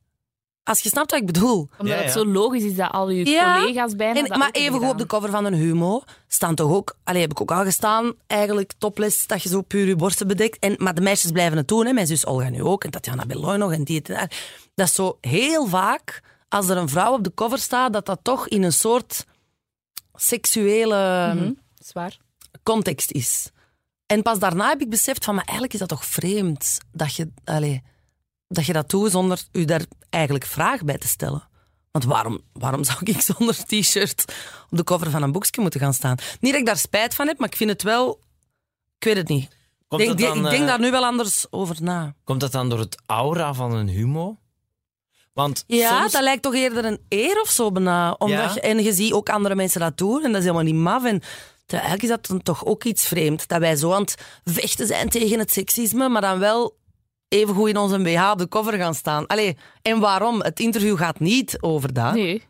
C: Als je snapt wat ik bedoel.
D: Omdat
B: Ja, ja.
D: het zo logisch is dat al je
C: Ja.
D: collega's bijna...
C: En,
D: dat
C: maar
D: ook hebben
C: even goed op de
D: gedaan.
C: cover van een Humo staan toch ook... Allee, heb ik ook al gestaan. Eigenlijk topless, dat je zo puur je borsten bedekt. En, maar de meisjes blijven het doen. Hè. Mijn zus Olga nu ook. En Tatjana Beloy nog. En die en daar. Dat is zo heel vaak, als er een vrouw op de cover staat, dat dat toch in een soort seksuele
D: Mhm. Zwaar.
C: context is. En pas daarna heb ik beseft van, maar eigenlijk is dat toch vreemd dat je, allee, dat, je dat doet zonder u daar eigenlijk vraag bij te stellen. Want waarom, waarom zou ik zonder t-shirt op de cover van een boekje moeten gaan staan? Niet dat ik daar spijt van heb, maar ik vind het wel... Ik weet het niet. Ik
B: Komt,
C: denk,
B: dat dan,
C: ik denk
B: eh,
C: daar nu wel anders over na.
B: komt dat dan door het aura van een humo? Want
C: Ja,
B: soms...
C: dat lijkt toch eerder een eer of zo bijna. Omdat
B: Ja.
C: je, en je ziet ook andere mensen dat doen en dat is helemaal niet maf. En terwijl eigenlijk is dat dan toch ook iets vreemd. Dat wij zo aan het vechten zijn tegen het seksisme, maar dan wel even goed in onze BH op de cover gaan staan. Allee, en waarom? Het interview gaat niet over dat.
D: Nee.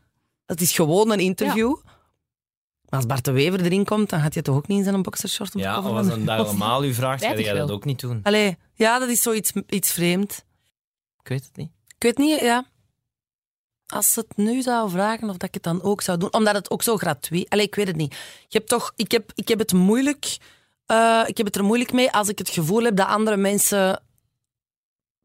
C: Het is gewoon een interview. Maar als Bart de Wever erin komt, dan gaat hij toch ook niet in zijn boxershort op de
B: Ja,
C: cover
B: of als
C: van
B: een
C: de-
B: dag allemaal u vraagt, ga
D: Spijtig
B: jij dat
D: wel.
B: ook niet doen.
C: Allee, ja, dat is zoiets iets vreemd.
B: Ik weet het niet.
C: Ik weet niet, ja. Als ze het nu zou vragen of dat ik het dan ook zou doen. Omdat het ook zo gratuit... Allee, ik weet het niet. Je hebt toch, ik, heb, ik heb het moeilijk... eh, ik heb het er moeilijk mee als ik het gevoel heb dat andere mensen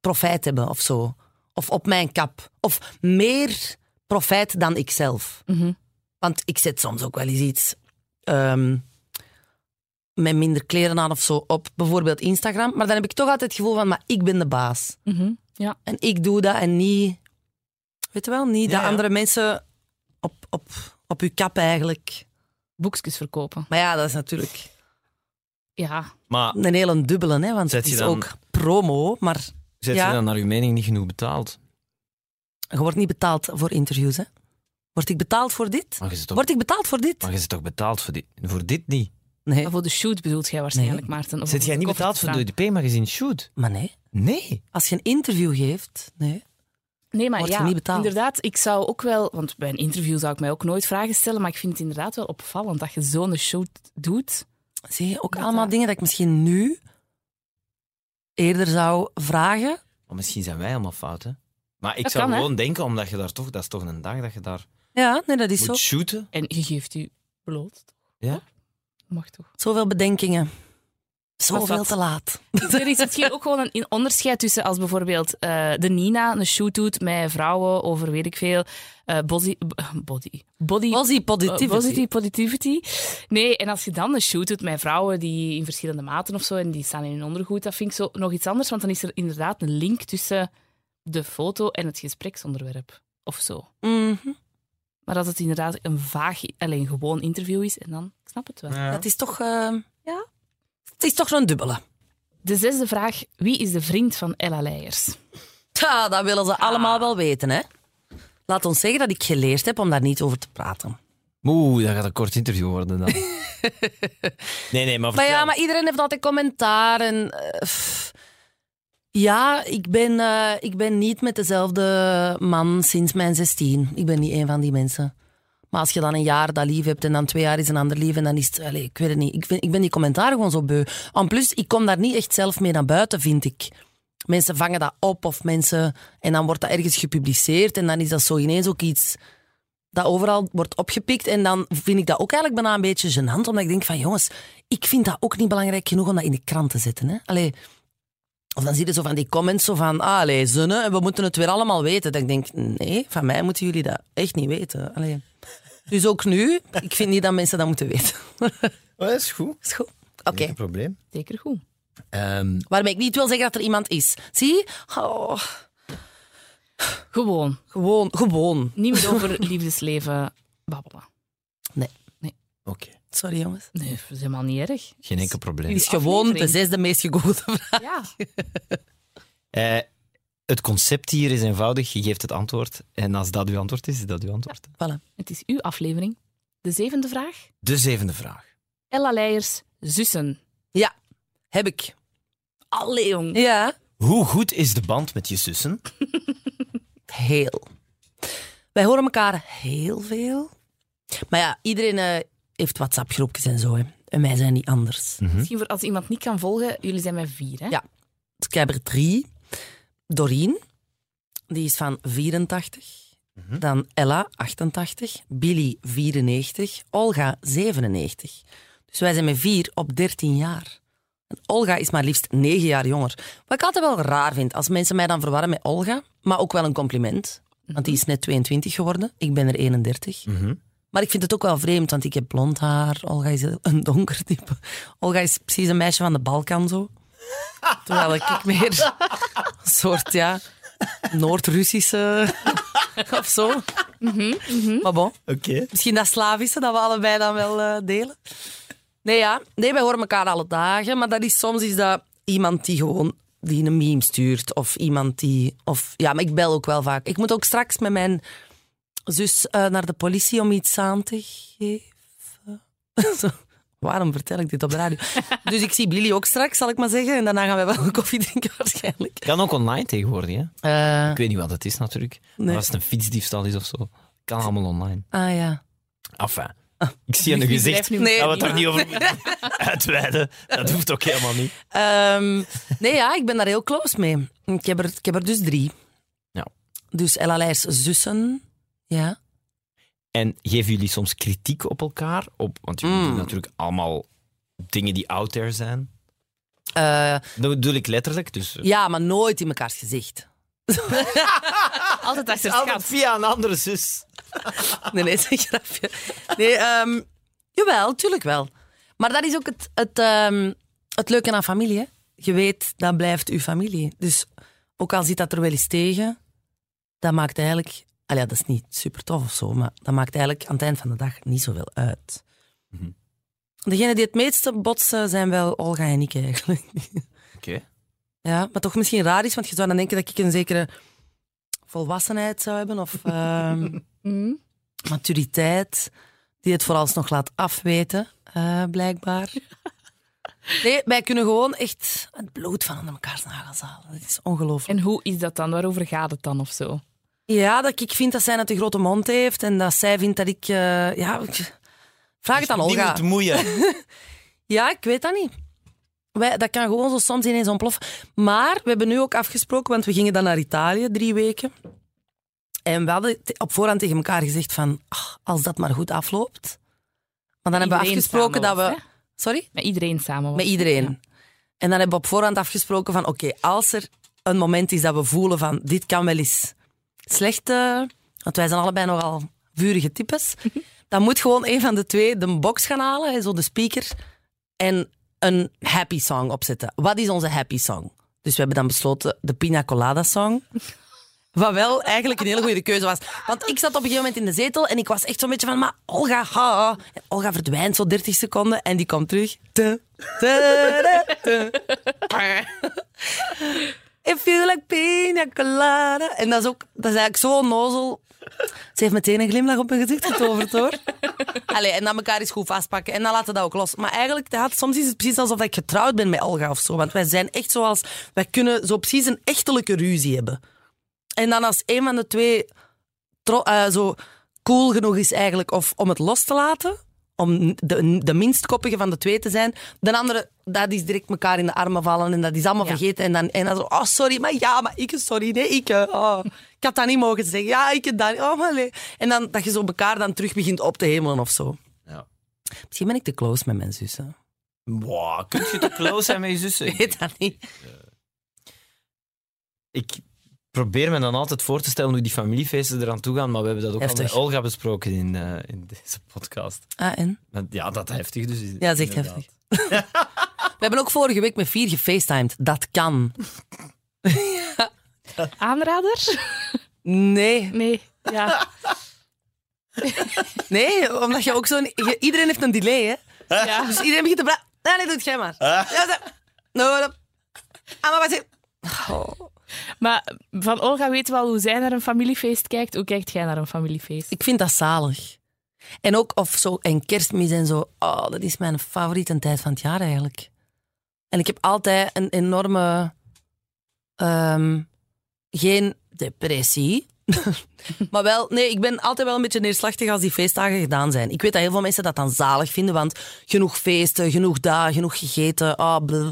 C: profijt hebben of zo. Of op mijn kap. Of meer profijt dan ikzelf.
D: Mhm.
C: Want ik zet soms ook wel eens iets ehm, met minder kleren aan of zo op bijvoorbeeld Instagram. Maar dan heb ik toch altijd het gevoel van, maar ik ben de baas.
D: Mhm. Ja.
C: En ik doe dat en niet... Weet je wel, niet
B: Ja,
C: dat
B: ja.
C: andere mensen op, op, op uw kap eigenlijk...
D: Boekjes verkopen.
C: Maar ja, dat is natuurlijk
D: Ja.
B: Maar
C: een hele dubbele, hè, want
B: Zet
C: het
B: je
C: is
B: dan-
C: ook promo, maar
B: zet
C: Ja.
B: je dan naar uw mening niet genoeg betaald?
C: je wordt niet betaald voor interviews, hè. Word ik betaald voor dit?
B: Maar je zit toch,
C: Word ik betaald voor dit?
B: maar je zit toch betaald voor dit, voor dit niet?
C: Nee,
D: Voor de shoot bedoelt jij waarschijnlijk,
C: Nee.
D: Maarten. Of
B: Zit
D: om
B: jij
D: op
B: niet
D: de koffer
B: betaald
D: te
B: voor
D: staan.
B: de DP-magazine Shoot?
C: maar nee.
B: Nee.
C: Als je een interview geeft, nee.
D: Nee, maar
C: Wordt
D: ja,
C: je niet betaald?
D: inderdaad, ik zou ook wel... Want bij een interview zou ik mij ook nooit vragen stellen, maar ik vind het inderdaad wel opvallend dat je zo'n shoot doet.
C: Zie je, ook
D: Dat
C: allemaal
D: dat-
C: dingen dat ik misschien nu eerder zou vragen.
B: Maar misschien zijn wij allemaal fout, hè? Maar ik
D: Dat
B: zou
D: kan, hè?
B: gewoon denken, omdat je daar toch... Dat is toch een dag dat je daar
C: Ja, nee, dat is zo.
B: moet shooten?
D: En je geeft je bloot.
B: Ja.
D: Mag toch?
C: Zoveel bedenkingen.
D: Wat
C: Zoveel
D: dat?
C: te laat.
D: Er is misschien ook gewoon een in- onderscheid tussen als bijvoorbeeld eh, de Nina een shoot doet met vrouwen over weet ik veel. eh, body, body. Body.
C: Posy positivity.
D: eh, positivity, positivity. Nee, en als je dan een shoot doet met vrouwen die in verschillende maten of zo en die staan in hun ondergoed, dat vind ik zo nog iets anders, want dan is er inderdaad een link tussen de foto en het gespreksonderwerp of zo.
C: Mhm.
D: Maar dat het inderdaad een vaag, alleen gewoon interview is, en dan ik snap het wel.
B: Ja.
C: Dat is toch... eh, ja. Het is toch zo'n dubbele.
D: De zesde vraag: wie is de vriend van Ella Leijers?
C: Ja, dat willen ze allemaal wel weten, hè. Laat ons zeggen dat ik geleerd heb om daar niet over te praten.
B: Oeh, dat gaat een kort interview worden dan. nee, nee, maar
C: Maar
B: vertel.
C: ja, maar iedereen heeft altijd commentaar. En, eh, pff. ja, ik ben, eh, ik ben niet met dezelfde man sinds mijn 16. Ik ben niet een van die mensen. Maar als je dan een jaar dat lief hebt en dan twee jaar is een ander lief en dan is het... Allez, ik weet het niet. Ik, vind, ik ben die commentaar gewoon zo beu. En plus, ik kom daar niet echt zelf mee naar buiten, vind ik. Mensen vangen dat op of mensen... En dan wordt dat ergens gepubliceerd en dan is dat zo ineens ook iets dat overal wordt opgepikt. En dan vind ik dat ook eigenlijk bijna een beetje gênant, omdat ik denk van jongens, ik vind dat ook niet belangrijk genoeg om dat in de krant te zetten. Hè? Allee, of dan zie je zo van die comments zo van, ah, allee, zonne, en we moeten het weer allemaal weten. Dat ik denk, nee, van mij moeten jullie dat echt niet weten. Allee. Dus ook nu, ik vind niet dat mensen dat moeten weten.
B: Oh, dat is goed.
C: Is goed? Oké,
B: Geen probleem.
D: Zeker goed.
B: Ehm,
C: waarmee ik niet wil zeggen dat er iemand is. Zie? Oh,
D: Gewoon.
C: gewoon, gewoon.
D: Niet meer over liefdesleven babbelen.
B: Oké,
C: Sorry jongens.
D: Nee, dat is helemaal niet erg.
B: geen enkel probleem.
C: Dit is gewoon de
D: aflevering.
C: zesde meest gegoogelde vraag.
D: Ja.
B: Eh, het concept hier is eenvoudig. Je geeft het antwoord. En als dat uw antwoord is, is dat uw antwoord.
D: Het is uw aflevering. De zevende vraag.
B: Dus De zevende vraag.
D: Ella Leijers, zussen.
C: Ja, heb ik.
D: Allee, jong.
C: Ja.
B: Hoe goed is de band met je zussen?
C: heel. Wij horen elkaar heel veel. Maar ja, iedereen eh, heeft WhatsApp-groepjes en zo. Hè. En wij zijn niet anders.
D: Misschien voor als iemand niet kan volgen, jullie zijn met vier, hè?
C: Ja. Dus ik heb er drie. Doreen, die is van 84. Dan Ella, 88. Billy, 94. Olga, 97. Dus wij zijn met vier op 13 jaar. En Olga is maar liefst 9 jaar jonger. Wat ik altijd wel raar vind, als mensen mij dan verwarren met Olga, maar ook wel een compliment. Want die is net 22 geworden, ik ben er 31. Maar ik vind het ook wel vreemd, want ik heb blond haar. Olga is een donker type. Olga is precies een meisje van de Balkan zo. Terwijl ik meer een soort, ja, Noord-Russische of zo. Maar bon,
B: Oké.
C: misschien dat Slavische dat we allebei dan wel eh, delen. Nee, ja. Nee, wij horen elkaar alle dagen. Maar dat is soms is dat iemand die gewoon die een meme stuurt. Of iemand die... Of, ja, maar ik bel ook wel vaak. Ik moet ook straks met mijn zus eh, naar de politie om iets aan te geven. Zo. Waarom vertel ik dit op de radio? Dus ik zie Billy ook straks, zal ik maar zeggen. En daarna gaan wij wel koffie drinken waarschijnlijk.
B: Kan ook online tegenwoordig, hè?
C: Eh,
B: Ik weet niet wat het is natuurlijk. Maar
C: Nee.
B: als het een fietsdiefstal is of zo, kan allemaal online.
C: ah ja.
B: Enfin,
C: Ah.
B: ik zie aan uw
D: Wie
B: gezicht
D: drijft nu-
C: Nee.
B: dat we het er niet over moeten uitweiden. Dat hoeft ook helemaal niet.
C: Ehm, nee, ja, ik ben daar heel close mee. Ik heb er, ik heb er dus drie.
B: Ja.
C: Dus Ella Leijers zussen. Ja.
B: En geven jullie soms kritiek op elkaar? Op, want jullie
C: Mm.
B: doen natuurlijk allemaal dingen die out there zijn.
C: Eh,
B: Dat bedoel ik letterlijk. Dus eh,
C: ja, maar nooit in mekaars gezicht.
D: Altijd achter
B: altijd
D: schat.
B: via een andere zus.
C: Nee, nee, dat is een grapje. Nee, ehm, jawel, tuurlijk wel. Maar dat is ook het, het, ehm, het leuke aan familie. Hè? Je weet, dat blijft uw familie. Dus ook al zit dat er wel eens tegen, dat maakt eigenlijk... Allee, ja, dat is niet super tof of zo, maar dat maakt eigenlijk aan het eind van de dag niet zoveel uit. Degenen die het meeste botsen zijn wel Olga en ik eigenlijk.
B: Oké.
C: Ja, wat toch misschien raar is, want je zou dan denken dat ik een zekere volwassenheid zou hebben of... ehm,
D: Mhm.
C: maturiteit die het vooralsnog laat afweten, eh, blijkbaar. Nee, wij kunnen gewoon echt het bloed van onder mekaars nagels halen. Dat is ongelooflijk.
D: En hoe is dat dan? Waarover gaat het dan of zo?
C: Ja, dat ik vind dat zij het een grote mond heeft en dat zij vindt dat ik... eh, ja, ik- vraag het aan Olga.
B: Dus Niemand moeien.
C: Ja, ik weet dat niet. Wij, dat kan gewoon zo soms ineens ontploffen. Maar we hebben nu ook afgesproken, want we gingen dan naar Italië drie weken. En we hadden te- op voorhand tegen elkaar gezegd van, "Ach, als dat maar goed afloopt. Maar dan hebben we
D: Iedereen
C: afgesproken dat
D: samen
C: we...
D: was, hè?
C: Sorry?
D: Met iedereen samen. was.
C: Met iedereen.
D: Ja.
C: En dan hebben we op voorhand afgesproken van, oké, als er een moment is dat we voelen van, dit kan wel eens slecht... eh, want wij zijn allebei nogal vurige types. dan moet gewoon een van de twee de box gaan halen, hè, zo de speaker, en een happy song opzetten. Wat is onze happy song? Dus we hebben dan besloten de Pina Colada song. Wat wel eigenlijk een hele goede keuze was. Want ik zat op een gegeven moment in de zetel en ik was echt zo'n beetje van, maar Olga, ha, ha. En Olga verdwijnt zo 30 seconden en die komt terug. Te, te, te, te. If you like pina colada. En dat is ook, dat is eigenlijk zo onnozel. Ze heeft meteen een glimlach op mijn gezicht getoverd hoor. Allee, en dan elkaar eens goed vastpakken en dan laten we dat ook los. Maar eigenlijk, dat, soms is het precies alsof ik getrouwd ben met Olga of zo. Want wij zijn echt zoals, wij kunnen zo precies een echtelijke ruzie hebben. En dan als een van de twee tro- eh, zo cool genoeg is eigenlijk of om het los te laten, om de, de minst koppige van de twee te zijn, de andere, dat is direct elkaar in de armen vallen en dat is allemaal
D: Ja.
C: vergeten. En dan, en dan zo, oh sorry, maar ja, maar ik, sorry, nee, ik, eh, oh, ik had dat niet mogen zeggen. Ja, ik dat niet, oh maar nee. En dan dat je zo elkaar dan terug begint op te hemelen of zo.
B: Ja.
C: Misschien ben ik te close met mijn zussen.
B: Wow, kun je te close zijn met je zussen?
C: Ik weet dat niet.
B: ik probeer me dan altijd voor te stellen hoe die familiefeesten eraan toe gaan, maar we hebben dat ook al
C: Heftig.
B: met Olga besproken in, eh, in deze podcast.
C: Ah, en?
B: Want ja, dat heftig dus. is-
C: Ja, dat is echt
B: inderdaad.
C: heftig. We hebben ook vorige week met vier gefacetimed. Dat kan.
D: Aanrader?
C: Nee.
D: Nee. Ja.
C: Nee, omdat je ook zo'n... je- Iedereen heeft een delay, hè.
D: ja.
C: Dus iedereen begint te praten. Nee, nee, doe het jij maar. Ja, zo. Nou, dat- Ah, maar wat is-
D: Maar van Olga weet wel hoe zij naar een familiefeest kijkt. Hoe kijkt jij naar een familiefeest?
C: Ik vind dat zalig. En ook of zo, en kerstmis en zo. Oh, dat is mijn favoriete tijd van het jaar eigenlijk. En ik heb altijd een enorme. ehm, geen depressie. maar wel, nee, ik ben altijd wel een beetje neerslachtig als die feestdagen gedaan zijn. Ik weet dat heel veel mensen dat dan zalig vinden, want genoeg feesten, genoeg daar, genoeg gegeten. ah bleh.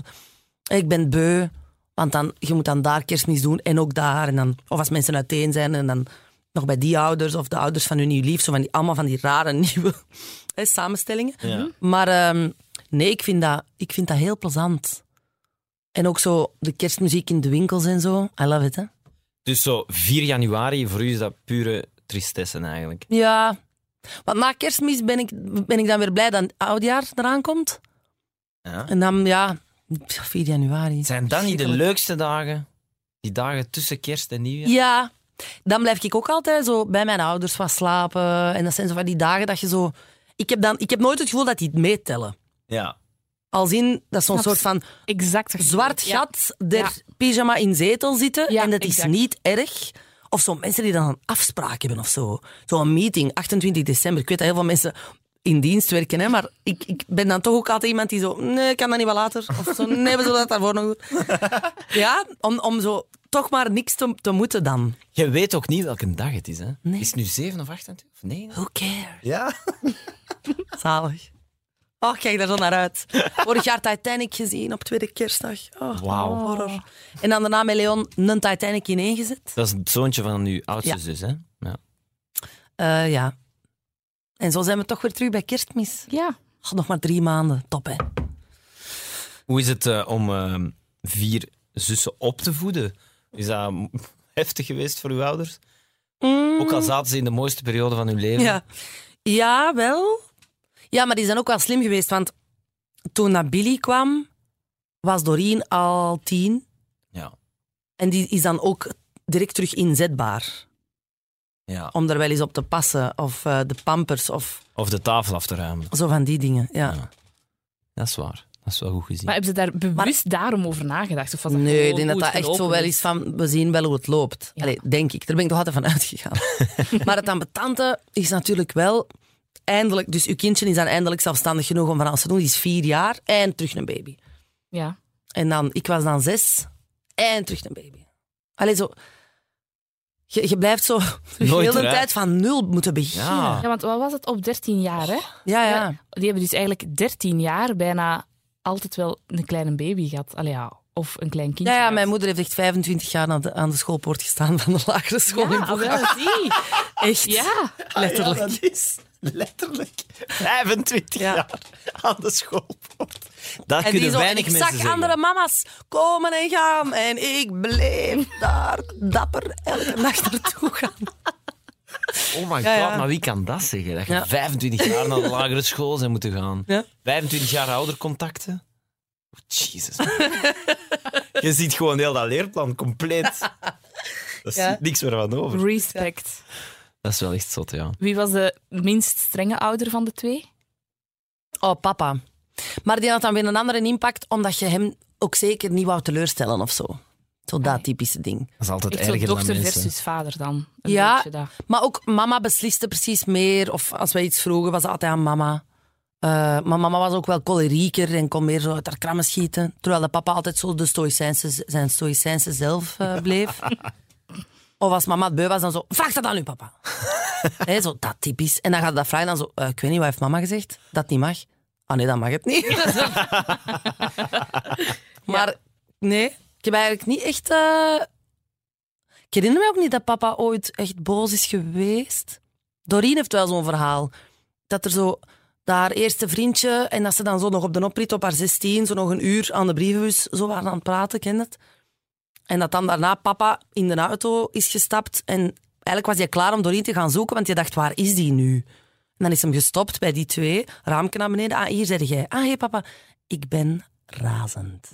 C: Ik ben beu. Want dan, je moet dan daar kerstmis doen en ook daar. En dan, of als mensen uiteen zijn en dan nog bij die ouders of de ouders van hun nieuw lief. Zo van die, allemaal van die rare nieuwe hè, samenstellingen.
B: Ja.
C: Maar ehm, nee, ik vind, dat, ik vind dat heel plezant. En ook zo de kerstmuziek in de winkels en zo. I love it, hè?
B: Dus zo 4 januari, voor u is dat pure tristesse eigenlijk.
C: Ja. Want na kerstmis ben ik, ben ik dan weer blij dat het oudjaar eraan komt.
B: Ja.
C: En dan, ja, 4 januari.
B: Zijn dat niet de
C: Verschrikkelijk.
B: leukste dagen? Die dagen tussen kerst en nieuwjaar?
C: Ja, Dan blijf ik ook altijd zo bij mijn ouders wat slapen. En dat zijn zo van die dagen dat je zo... Ik heb, dan, ik heb nooit het gevoel dat die het meetellen.
B: Ja.
C: Als in, dat is zo'n
D: Snap
C: soort van
D: Exact. wat je
C: zwart
D: bedoelt. Ja.
C: gat der
D: Ja.
C: pyjama in zetel zitten.
D: Ja,
C: en dat
D: exact.
C: is niet erg. Of zo mensen die dan een afspraak hebben of zo. Zo'n meeting, 28 december. Ik weet dat heel veel mensen in dienst werken, hè, maar ik, ik ben dan toch ook altijd iemand die zo... Nee, ik kan dat niet wel later. Of zo, nee, we zullen dat daarvoor nog doen. Ja, om, om zo toch maar niks te, te moeten dan.
B: Je weet ook niet welke dag het is, hè?
C: Nee.
B: Is het nu 7 of 28? Of 9?
C: Who cares?
B: Ja.
C: Zalig. Oh, kijk daar zo naar uit. Vorig jaar Titanic gezien op tweede kerstdag. Oh,
B: Wauw.
C: horror. En dan daarna met Leon een Titanic ineengezet.
B: Dat is het zoontje van uw oudste
C: Ja.
B: zus, hè? Ja.
C: Eh, ja. En zo zijn we toch weer terug bij kerstmis.
D: Ja.
C: Oh, nog maar drie maanden. Top, hè?
B: Hoe is het eh, om eh, vier zussen op te voeden? Is dat m- heftig geweest voor uw ouders? Ook al zaten ze in de mooiste periode van hun leven.
C: Mm. Ja. ja, wel. Ja, maar die zijn ook wel slim geweest, want toen dat Billy kwam, was Doreen al tien.
B: Ja.
C: En die is dan ook direct terug inzetbaar.
B: ja.
C: Om er wel eens op te passen. Of eh, de pampers, of
B: Of de tafel af te ruimen.
C: zo van die dingen. Ja.
B: Ja. Dat is waar. Dat is wel goed gezien.
D: Maar hebben ze daar bewust daarom over nagedacht? Of was dat
C: Nee,
D: gewoon
C: ik denk dat
D: hoe
C: dat
D: het
C: echt zo
D: gelopen
C: wel is van, we zien wel hoe het loopt.
D: Ja.
C: Allee, denk ik. Daar ben ik toch altijd van uitgegaan. maar het ambetante is natuurlijk wel eindelijk... Dus uw kindje is dan eindelijk zelfstandig genoeg om van alles te doen. Die is vier jaar en terug een baby.
D: Ja.
C: En dan, ik was dan zes en terug een baby. Allee, zo... Je, je blijft zo heel de hele
B: eruit.
C: tijd van nul moeten beginnen.
B: Ja.
D: ja, want wat was het op 13 jaar, hè?
C: ja. Ah. ja.
D: Ja, Die hebben dus eigenlijk 13 jaar bijna altijd wel een kleine baby gehad. Allee, ja, of een klein kindje.
C: Ja, ja,
D: gehad.
C: mijn moeder heeft echt 25 jaar aan de, aan de schoolpoort gestaan van de lagere school in
D: Ja, ah,
C: Boegel.
D: wel, zie.
C: Echt,
D: Ja.
B: Ah,
C: letterlijk.
B: Ja, dat is letterlijk 25
C: Ja.
B: jaar aan de schoolpoort. Daar
C: En die
B: kunnen
C: zo, en
B: weinig
C: ik
B: mensen
C: zag
B: zeggen.
C: andere mama's komen en gaan en ik bleef daar dapper elke nacht naartoe gaan.
B: Oh my
C: Ja,
B: god,
C: ja.
B: maar wie kan dat zeggen? Dat je
C: Ja.
B: 25 jaar naar de lagere school zijn moeten gaan.
C: Ja.
B: 25 jaar oudercontacten. Oh, Jesus. je ziet gewoon heel dat leerplan compleet. Daar
C: Ja.
B: zit niks meer van over.
D: Respect.
B: Dat is wel echt zot, ja.
D: Wie was de minst strenge ouder van de twee?
C: Oh, papa. Maar die had dan weer een andere impact, omdat je hem ook zeker niet wou teleurstellen of zo. Zo dat typische ding.
B: Dat is altijd
D: Echt zo'n
B: erger dan
D: dochter
B: mensen.
D: versus vader dan. Een
C: Ja.
D: beetje dat.
C: Maar ook mama besliste precies meer. Of als wij iets vroegen, was het altijd aan mama. Eh, maar mama was ook wel cholerieker en kon meer zo uit haar krammen schieten. Terwijl de papa altijd zo de stoïcijnse, zijn stoïcijnse zelf eh, bleef. of als mama het beu was, dan zo... Vraag dat aan uw papa. Hè, zo dat typisch. En dan gaat dat vragen dan zo... "Eh, ik weet niet, wat heeft mama gezegd? Dat niet mag. Ah nee, dat mag het niet. maar nee, ik heb eigenlijk niet echt... eh, ik herinner me ook niet dat papa ooit echt boos is geweest. Doreen heeft wel zo'n verhaal. Dat er zo dat haar eerste vriendje en dat ze dan zo nog op de oprit op haar 16, zo nog een uur aan de brievenbus zo waren aan het praten, ken je het? En dat dan daarna papa in de auto is gestapt en eigenlijk was hij klaar om Doreen te gaan zoeken, want je dacht, waar is die nu? En dan is hem gestopt bij die twee, raamje naar beneden. Ah, hier zeg jij. Ah, hé papa, ik ben razend.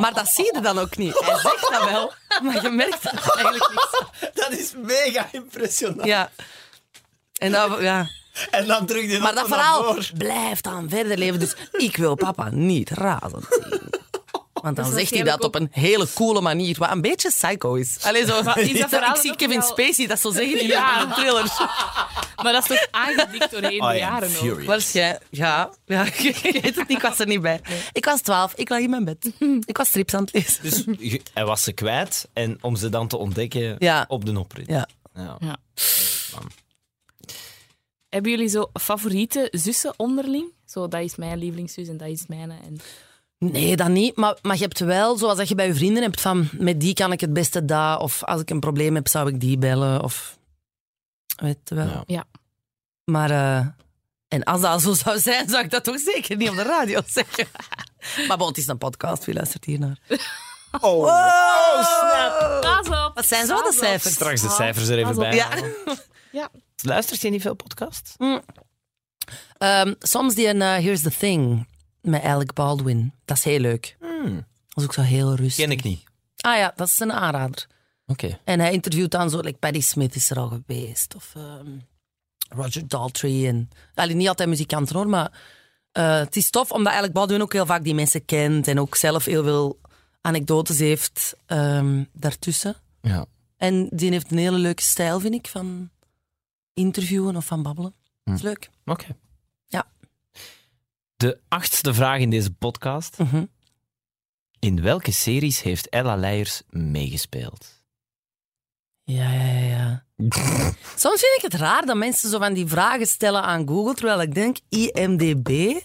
C: maar dat zie je dan ook niet. Hij zegt dat wel, maar je merkt dat eigenlijk niet.
B: Dat is mega impressionant.
C: Ja. En dat, ja.
B: En dan terug die
C: Maar dat
B: auto
C: verhaal
B: naar voor.
C: blijft dan verder leven. Dus ik wil papa niet razend zien. Want
D: Dus
C: dan zegt hij dat op een hele coole manier, wat een beetje psycho is. Allee, zo,
D: dat verhaal
C: ik zie
D: ook
C: Kevin
D: wel-
C: Spacey dat zo zeggen in
D: Ja.
C: een thriller.
D: Maar dat is toch aangedikt doorheen de
B: I am
D: jaren ook.
B: furious.
C: Waarschijnlijk. Ja, ja, ik weet het niet, ik was er niet bij. Ik was twaalf, ik lag in mijn bed. Ik was strips aan het lezen.
B: Dus je- hij was ze kwijt en om ze dan te ontdekken
C: Ja.
B: op de oprit.
C: Ja.
B: Ja.
D: Ja. Hebben jullie zo favoriete zussen onderling? Zo, dat is mijn lievelingszus en dat is mijne. En...
C: Nee, dat niet. Maar, maar je hebt wel, zoals dat je bij je vrienden hebt, van met die kan ik het beste daar. Of als ik een probleem heb, zou ik die bellen. Of weet je wel.
B: Ja.
D: Ja.
C: Maar, eh, en als dat zo zou zijn, zou ik dat toch zeker niet op de radio zeggen. Maar bon, het is een podcast, wie luistert hier naar?
B: Oh, oh, snap.
D: Pas op!
C: Wat zijn zo de
D: Pas op.
C: cijfers?
B: Straks de
D: Ah,
B: cijfers er even
D: Pas op.
B: bij.
C: Ja. Mm.
B: halen.
D: Ja.
B: Luistert Ehm, je niet veel podcasts?
C: Ehm, soms die een eh, Here's the Thing met Alec Baldwin. Dat is heel leuk. Dat is ook zo heel rustig.
B: Hmm. Ken ik niet.
C: Ah ja, dat is een aanrader.
B: Oké.
C: En hij interviewt dan zo, like Patti Smith is er al geweest. Of ehm, Roger Daltrey. En, allee, niet altijd muzikanten hoor, maar eh, het is tof omdat eigenlijk Baldwin ook heel vaak die mensen kent. En ook zelf heel veel anekdotes heeft ehm, daartussen.
B: Ja.
C: En die heeft een hele leuke stijl, vind ik, van interviewen of van babbelen. Dat is leuk.
B: Oké.
C: Ja.
B: De achtste vraag in deze podcast.
C: Mhm.
B: In welke series heeft Ella Leijers meegespeeld?
C: Ja, ja, ja, ja. Soms vind ik het raar dat mensen zo van die vragen stellen aan Google, terwijl ik denk, IMDB.
D: Ah
C: En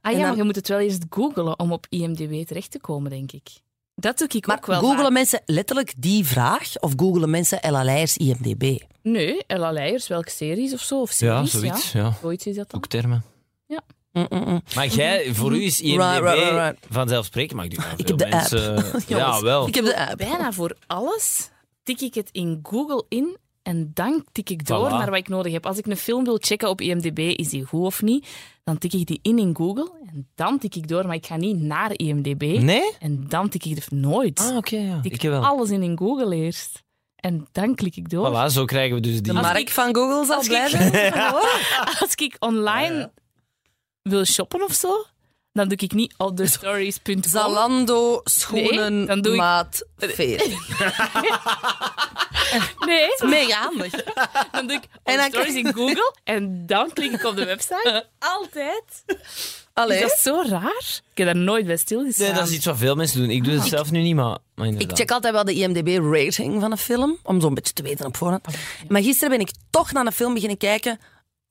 D: ja,
C: dan-
D: maar je moet het wel eerst googelen om op IMDb terecht te komen, denk ik. Dat doe ik
C: Maar
D: ook wel
C: googelen
D: vaak.
C: mensen letterlijk die vraag of googelen mensen Ella Leijers IMDB?
D: Nee, Ella Leijers, welke series of zo? Of series, ja, zoiets.
B: ja.
D: is dat dan.
B: Boektermen.
C: Mm, mm, mm.
B: Maar jij, voor u is IMDb
C: Right, right, right, right.
B: vanzelfsprekend, maar ik doe wel
C: Ik
B: veel
C: heb de app.
B: mensen... Eh,
C: Jongens,
B: Ja, wel.
C: Ik heb de app.
D: Bijna voor alles tik ik het in Google in en dan tik ik door
B: Voilà.
D: naar wat ik nodig heb. Als ik een film wil checken op IMDb, is die goed of niet, dan tik ik die in in Google en dan tik ik door, maar ik ga niet naar IMDb.
B: Nee?
D: En dan tik ik er nooit.
B: Ah, oké, ja.
D: tik
B: Ik heb wel.
D: alles in in Google eerst. En dan klik ik door.
B: Voilà, zo krijgen we dus die...
C: De mark
D: ik-
C: van Google zal
D: als
C: blij
D: ik-
C: zijn. hoor.
D: Als ik online wil shoppen of zo, dan doe ik niet otherstories.com.
C: Zalando, schoenen,
D: Nee, dan doe ik-
C: maat, veer.
D: Nee,
C: Mega handig.
D: dan doe ik
C: En dan-
D: otherstories in Google en dan klik ik op de website. Altijd. Is
C: Allee.
D: dat zo raar? Ik heb daar nooit bij stilgestaan.
B: Nee, dat is iets wat veel mensen doen. Ik doe het zelf nu niet, maar, maar
C: Ah. Ik
B: inderdaad.
C: check altijd wel de IMDb-rating van een film, om zo'n beetje te weten op voorhand. Maar gisteren ben ik toch naar een film beginnen kijken,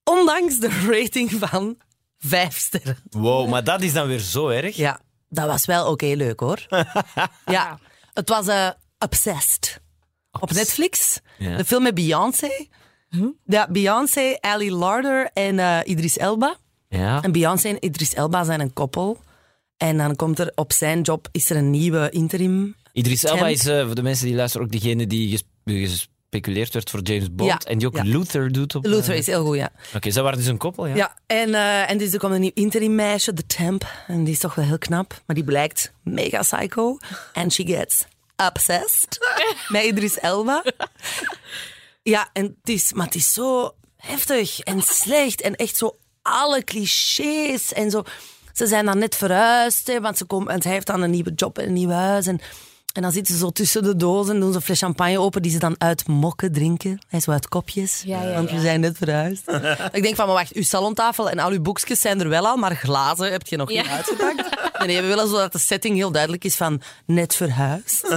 C: ondanks de rating van vijf sterren.
B: Wow, maar dat is dan weer zo erg.
C: Ja, dat was wel oké leuk hoor. ja, het was eh, Obsessed. Op Netflix.
B: Ja.
C: De film met Beyoncé. Ja, Beyoncé, Ali Larder en eh, Idris Elba.
B: Ja.
C: En Beyoncé en Idris Elba zijn een koppel. En dan komt er op zijn job is er een nieuwe interim.
B: Idris Elba
C: Kent.
B: is, eh, voor de mensen die luisteren, ook degene die ges- gespeculeerd werd voor James Bond.
C: Ja,
B: En die ook
C: ja.
B: Luther doet op...
C: Luther
B: eh,
C: is heel goed, ja.
B: Oké, zij waren dus een koppel, ja?
C: Ja, en, eh, en dus er komt een nieuw interim meisje, de temp. En die is toch wel heel knap. Maar die blijkt mega psycho. And she gets obsessed. Met Idris Elba. Ja, en het is, maar het is zo heftig en slecht. En echt zo alle clichés en zo. Ze zijn dan net verhuisd, hè, want ze komen, en hij heeft dan een nieuwe job en een nieuw huis. En, en dan zitten ze zo tussen de dozen en doen ze een fles champagne open die ze dan uit mokken drinken. Hij is wel uit kopjes,
D: Ja, ja,
C: want we
D: ja.
C: zijn net verhuisd. ik denk van, maar wacht, uw salontafel en al uw boekjes zijn er wel al, maar glazen heb je nog niet uitgepakt. Nee, nee, we willen zodat de setting heel duidelijk is van net verhuisd.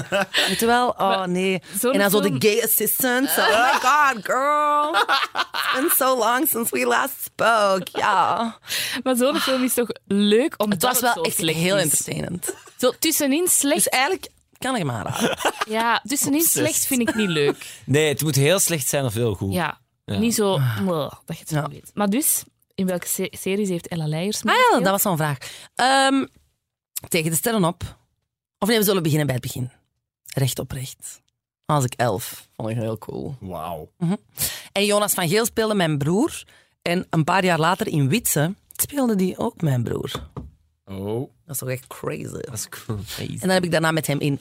C: Weet je wel? Oh nee.
D: zo'n
C: En dan zo de
D: film-
C: gay assistant. Oh my god, girl. It's been so long since we last spoke. Ja.
D: Maar zo'n film is toch leuk omdat
C: Het was wel
D: zo
C: echt
D: slecht
C: heel
D: is.
C: entertainend.
D: Zo tussenin slecht.
C: Dus eigenlijk kan ik hem aanraden.
D: ja, tussenin
B: Obsessed.
D: slecht vind ik niet leuk.
B: Nee, het moet heel slecht zijn of heel goed.
D: Ja,
B: Ja.
D: niet zo mwah, dat je het zo
C: Ja.
D: weet. Maar dus, in welke se- series heeft Ella Leijers
C: Ah ja,
D: meegespeeld?
C: dat was zo'n vraag. Ehm, tegen de sterren op. Of nee, we zullen beginnen bij het begin. Recht op recht. Als ik elf. Vond ik heel cool. Mhm.
B: Wauw.
C: En Jonas van Geel speelde mijn broer. En een paar jaar later in Witse speelde die ook mijn broer.
B: Oh,
C: Dat is toch echt crazy.
B: dat is crazy.
C: En dan heb ik daarna met hem in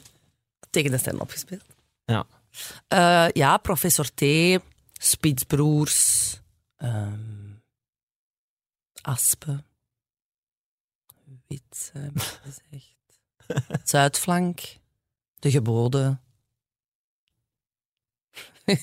C: Tegen de Sterren opgespeeld.
B: Ja.
C: Eh, ja, Professor T, Spitsbroers, ehm Aspen, Wit, eh, heb ik gezegd. Zuidflank, De Geboden.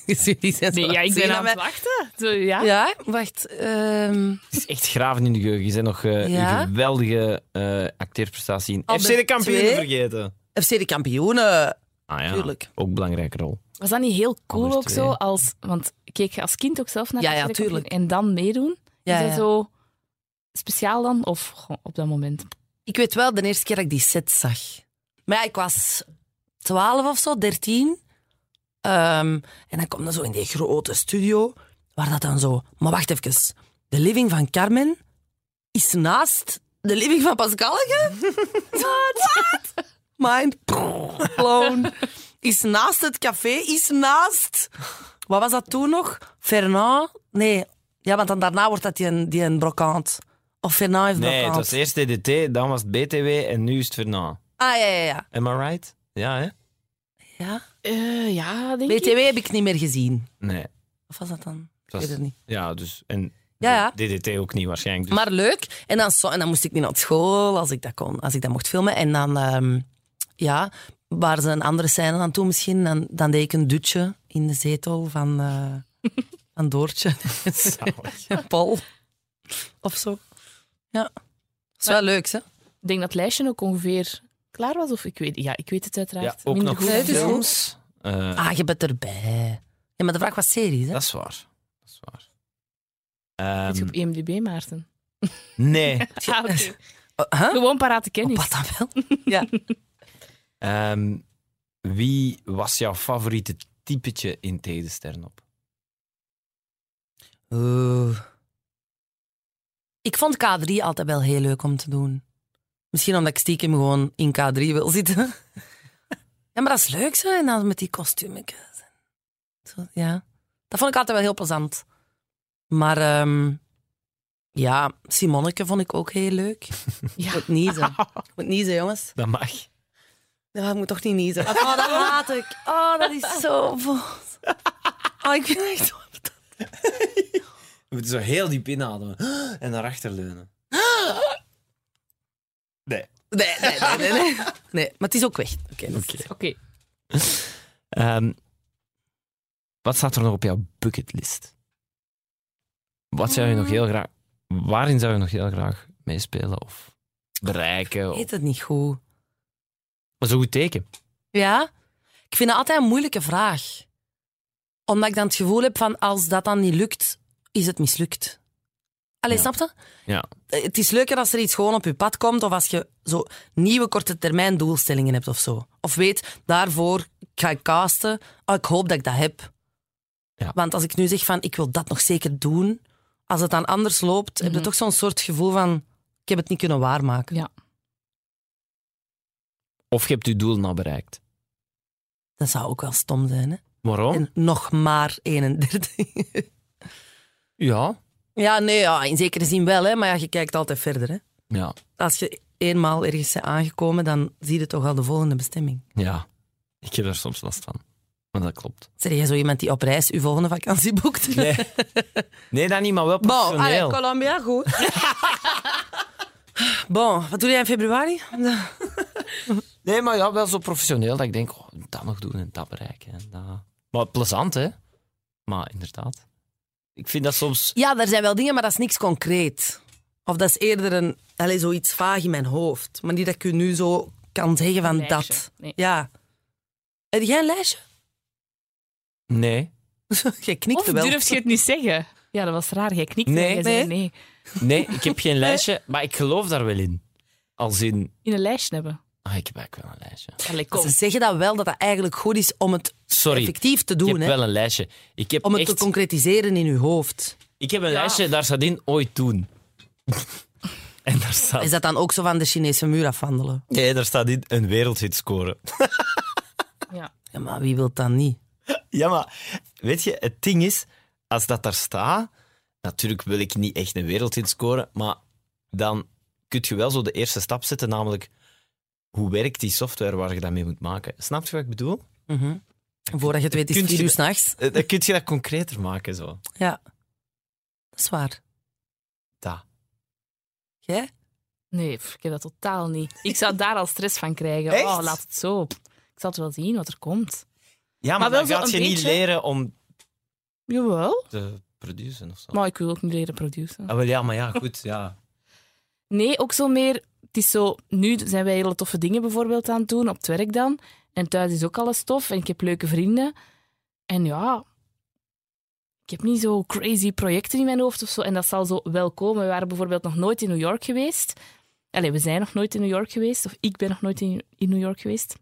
C: Jullie zijn zo
D: Nee, ja, ik
C: zien
D: ben aan het wachten. Zo, ja.
C: Ja, wacht. ehm,
B: Het is echt graven in de geheugen. Je bent nog eh,
C: Ja?
B: een geweldige eh, acteerprestatie in
C: Al
B: FC
C: de
B: de kampioenen
C: twee?
B: vergeten.
C: FC de Kampioenen,
B: Ah ja,
C: tuurlijk.
B: ook belangrijke rol.
D: Was dat niet heel cool
B: Alle
D: ook
B: twee.
D: zo? Als, want keek je als kind ook zelf naar
C: Ja,
D: de
C: ja,
D: Sterrenkampioen
C: tuurlijk.
D: En dan meedoen?
C: Ja,
D: is dat
C: ja.
D: zo speciaal dan? Of gewoon op dat moment?
C: Ik weet wel de eerste keer dat ik die set zag. Maar ja, ik was 12 of zo, 13. Ehm, en dan kom je zo in die grote studio, waar dat dan zo... Maar wacht even, de living van Carmen is naast de living van Pascal. Wat? Mind blown. Is naast het café, is naast... Wat was dat toen nog? Fernand? Nee, ja, want dan daarna wordt dat die een, die een brocante. Of Fernand heeft
B: Nee, het
C: brocante.
B: was eerst DDT, dan was het BTW en nu is het Fernand.
C: Ah, ja, ja, ja.
B: Am I right? Ja, hè?
C: Ja.
D: Eh, ja, denk ik.
C: BTW E heb ik niet meer gezien.
B: Nee.
C: Of was dat dan?
B: Het was-
C: Ik weet het niet.
B: Ja, dus. En
C: Ja, ja.
B: DDT ook niet waarschijnlijk. Dus
C: Maar leuk. En dan, zo- en dan moest ik niet naar school als ik dat kon, als ik dat mocht filmen. En dan, ehm, ja, waren ze een andere scène aan toe misschien. Dan, dan deed ik een dutje in de zetel van, eh, van Doortje.
B: Ah,
C: Paul. Of zo. Ja. Dat is wel leuk, hè?
D: Ik denk dat het lijstje ook ongeveer klaar was. Of ik weet, ja, ik weet het uiteraard.
B: ja, ook
D: Minder
B: nog
D: goed.
C: Nee, het is goed.
B: films. Eh,
C: Ah, je bent erbij. Ja, maar de vraag was series, hè?
B: Dat is waar. Dat is waar.
D: Zit je
B: Ehm,
D: op IMDb, Maarten.
B: nee.
D: Ah, oké.
C: Eh, huh?
D: Gewoon parate kennis.
C: Wat dan wel? Ja.
B: Ehm, wie was jouw favoriete typetje in Tedenstern op?
C: Oeh. Ik vond K3 altijd wel heel leuk om te doen. Misschien omdat ik stiekem gewoon in K3 wil zitten. ja, maar dat is leuk zo. En dan met die kostuumetjes. en Zo, ja. Dat vond ik altijd wel heel plezant. Maar ehm, ja, Simonneke vond ik ook heel leuk. Ik
D: Ja.
C: moet niezen. Ik moet niezen, jongens.
B: Dat mag.
C: Ja, ik moet toch niet niezen. Oh, dat haat ik. Oh, dat is zo vals. Oh, ik vind het echt...
B: We moeten zo heel diep inademen en naar achter leunen. Nee.
C: Nee, nee, nee, nee. Nee, nee maar het is ook weg. Oké. dat is-
D: Oké.
B: Ehm, wat staat er nog op jouw bucketlist? Wat zou
C: Ah.
B: je nog heel graag... Waarin zou je nog heel graag meespelen of bereiken? Of...
C: Heet het niet goed?
B: Dat is een goed teken.
C: Ja? Ik vind dat altijd een moeilijke vraag. Omdat ik dan het gevoel heb van als dat dan niet lukt, is het mislukt. Allee,
B: Ja.
C: snap je?
B: Ja.
C: Eh, Het is leuker als er iets gewoon op je pad komt of als je zo nieuwe korte termijn doelstellingen hebt of zo. Of weet, daarvoor ga ik casten, ah, ik hoop dat ik dat heb.
B: Ja.
C: Want als ik nu zeg van ik wil dat nog zeker doen, als het dan anders loopt, heb je toch zo'n soort gevoel van ik heb het niet kunnen waarmaken.
D: Ja.
B: Of je hebt je doel nou bereikt.
C: Dat zou ook wel stom zijn, hè?
B: Waarom?
C: En nog maar 31.
B: Ja.
C: Ja, nee, ja, in zekere zin wel, hè, maar ja, je kijkt altijd verder. Hè.
B: Ja.
C: Als je eenmaal ergens bent aangekomen, dan zie je toch al de volgende bestemming.
B: Ja. Ik heb daar soms last van. Maar dat klopt.
C: Zeg jij zo iemand die op reis uw volgende vakantie boekt?
B: Nee. Nee, dat niet, maar wel
C: Bon, allee,
B: professioneel.
C: Colombia, goed. bon, wat doe jij in februari?
B: nee, maar ja, wel zo professioneel dat ik denk, oh, dat nog doen en dat bereiken. En dat. Maar plezant, hè? Maar inderdaad. Ik vind dat soms...
C: Ja, er zijn wel dingen, maar dat is niks concreet. Of dat is eerder een, allee, zoiets vaag in mijn hoofd. Maar niet dat ik u nu zo kan zeggen van
D: Een lijstje.
C: dat.
D: Nee.
C: Ja. Heb jij een lijstje?
B: Nee.
C: jij knikt
D: Of
C: wel.
D: durf je het niet zeggen? Ja, dat was raar. Jij knikt
B: Nee.
D: en jij zei
C: Nee.
D: nee.
B: Nee, ik heb geen lijstje, maar ik geloof daar wel in. Als in...
D: In een lijstje hebben.
B: Ah, ik heb eigenlijk wel een lijstje.
D: Allee, kom.
C: Ze zeggen dat wel, dat dat eigenlijk goed is om het
B: Sorry,
C: effectief te
B: ik
C: doen.
B: heb
C: hè?
B: wel een lijstje. Ik heb,
C: Om het
B: echt,
C: te concretiseren in uw hoofd.
B: ik heb een
D: Ja.
B: lijstje, daar staat in ooit doen. en daar staat...
C: Is dat dan ook zo van de Chinese muur afwandelen?
B: Nee, daar staat in een wereldhit scoren.
D: Ja.
C: Ja, maar wie wil dat niet?
B: Ja, maar weet je, het ding is, als dat daar staat, natuurlijk wil ik niet echt een wereldhit scoren, maar dan kun je wel zo de eerste stap zetten, namelijk hoe werkt die software waar je dat mee moet maken? Snap je wat ik bedoel?
C: Mhm. Voordat je het weet is het
B: Kunt je
C: vier uur
B: dat-
C: s'nachts.
B: Eh, Dan kun je dat concreter maken, zo.
C: Ja. Dat is waar.
B: Dat.
C: Jij?
D: Nee, pff, ik heb dat totaal niet. Ik zou daar al stress van krijgen.
B: Echt?
D: Oh, laat het zo. Ik zal het wel zien wat er komt.
B: Ja, maar,
D: Maar wel
B: dan
D: zo
B: gaat je
D: een
B: niet
D: beetje-
B: leren om
D: Jawel.
B: te produceren of zo.
D: Maar ik wil ook niet leren produceren.
B: Ah, wel, ja, maar ja, goed, ja.
D: Nee, ook zo meer. Het is zo, nu zijn wij hele toffe dingen bijvoorbeeld aan het doen, op het werk dan. En thuis is ook alles tof en ik heb leuke vrienden. En ja, ik heb niet zo crazy projecten in mijn hoofd of zo. En dat zal zo wel komen. We waren bijvoorbeeld nog nooit in New York geweest. Allee, we zijn nog nooit in New York geweest. Of ik ben nog nooit in, in New York geweest.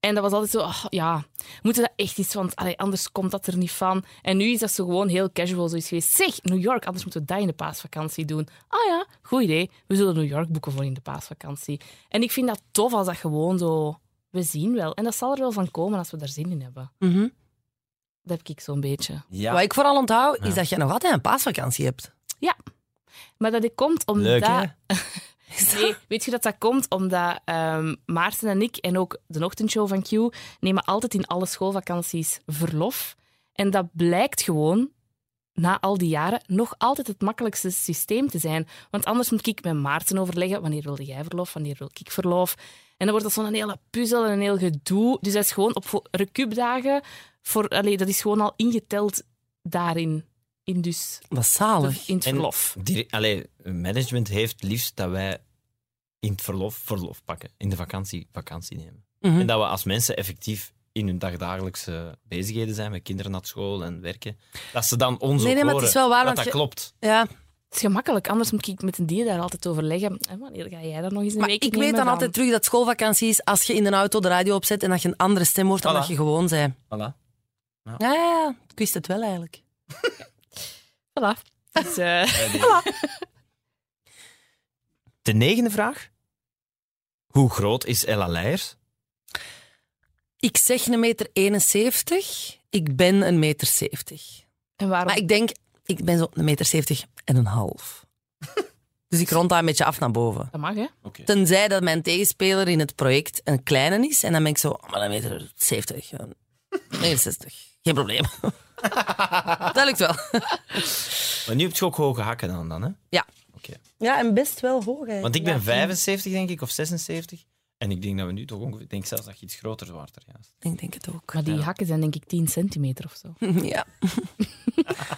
D: En dat was altijd zo, ah, ja, we moeten dat echt iets, want allee, anders komt dat er niet van. En nu is dat zo gewoon heel casual zoiets geweest. Zeg, New York, anders moeten we dat in de paasvakantie doen. Ah ja, goed idee. We zullen New York boeken voor in de paasvakantie. En ik vind dat tof als dat gewoon zo, we zien wel. En dat zal er wel van komen als we daar zin in hebben.
C: Mhm.
D: Dat heb ik zo'n beetje.
B: Ja,
C: Wat ik vooral onthoud,
B: Ja.
C: is dat je nog altijd een paasvakantie hebt.
D: Maar dat komt omdat...
B: leuk hè?
D: Nee, weet je dat dat komt? Omdat ehm, Maarten en ik en ook de ochtendshow van Q nemen altijd in alle schoolvakanties verlof. En dat blijkt gewoon na al die jaren nog altijd het makkelijkste systeem te zijn. Want anders moet ik met Maarten overleggen wanneer wilde jij verlof, wanneer wil ik verlof. En dan wordt dat zo'n hele puzzel en een heel gedoe. Dus dat is gewoon op vo- recupdagen, voor, allee, dat is gewoon al ingeteld daarin. In, dus,
C: Wat zalig.
D: in het
B: En-
D: verlof.
B: Dire- Allee, management heeft liefst dat wij in het verlof verlof pakken. In de vakantie vakantie nemen.
C: Mhm.
B: En dat we als mensen effectief in hun dagdagelijkse bezigheden zijn, met kinderen naar school en werken, dat ze dan ons
C: Nee,
B: ook
C: nee, maar het
B: horen
C: is wel waar,
B: dat
C: want
B: dat
C: je-
B: klopt.
C: Ja.
D: Het is gemakkelijk, anders moet ik met een dier daar altijd overleggen. En wanneer ga jij dat nog eens een
C: Maar
D: week
C: ik
D: nemen
C: weet dan altijd terug dat schoolvakantie is als je in de auto de radio opzet en dat je een andere stem hoort dan
B: Voilà.
C: dat je gewoon zei.
B: Voilà.
C: Ja, ja, ja. Ik wist het wel eigenlijk.
D: Voilà. Dus, eh,
B: De negende vraag. Hoe groot is Ella Leijers?
C: Ik zeg een meter 71. Ik ben een meter 70.
D: en waarom?
C: Maar ik denk, ik ben zo een meter 70 en een half. dus ik rond daar een beetje af naar boven.
D: Dat mag, hè?
C: Tenzij dat mijn tegenspeler in het project een kleine is. En dan ben ik zo, oh, maar een meter 70. eh, 69. Geen probleem. dat lukt wel.
B: Maar nu heb je ook hoge hakken aan dan, hè?
C: Ja, en best wel hoog.
B: Want ik ben 75, denk ik, of 76. En ik denk dat we nu toch ongeveer... Ik denk zelfs dat je iets groter waard er juist.
C: Ik denk het ook.
D: Maar die hakken zijn denk ik 10 centimeter of zo.
C: Ja.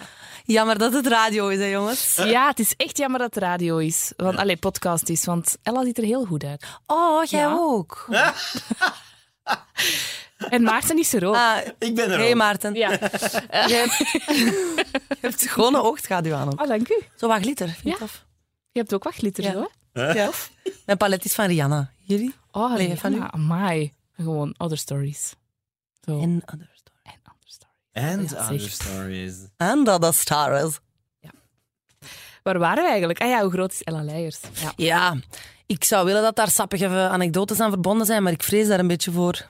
C: Jammer dat het radio is, hè, jongens.
D: Ja, het is echt jammer dat het radio is. Want, allee, podcast is, want Ella ziet er heel goed uit.
C: Oh, jij
D: Ja.
C: ook. Ah.
D: En Maarten is er ook.
C: Ah,
B: Ik ben
C: hey Maarten.
D: Ja.
C: Je hebt, je hebt gewoon een oogschaduw aan. ook.
D: Ah, dank u.
C: Zo wat glitter, vind ik
D: Ja.
C: tof.
D: Je hebt ook wat glitter,
C: Ja.
D: zo, hè?
C: Ja. Mijn palet is van Rihanna. Jullie?
D: Oh,
C: Nee,
D: nee,
C: van
D: van
C: u.
D: Amai. Gewoon other stories. Zo.
C: En Other Stories.
D: en
B: And
D: other stories. Ja,
B: other
D: zeg.
B: stories.
C: And Other Stars.
D: Waar waren we eigenlijk? Ah ja, hoe groot is Ella Leijers? Ja.
C: Ja, ik zou willen dat daar sappige eh, anekdotes aan verbonden zijn, maar ik vrees daar een beetje voor.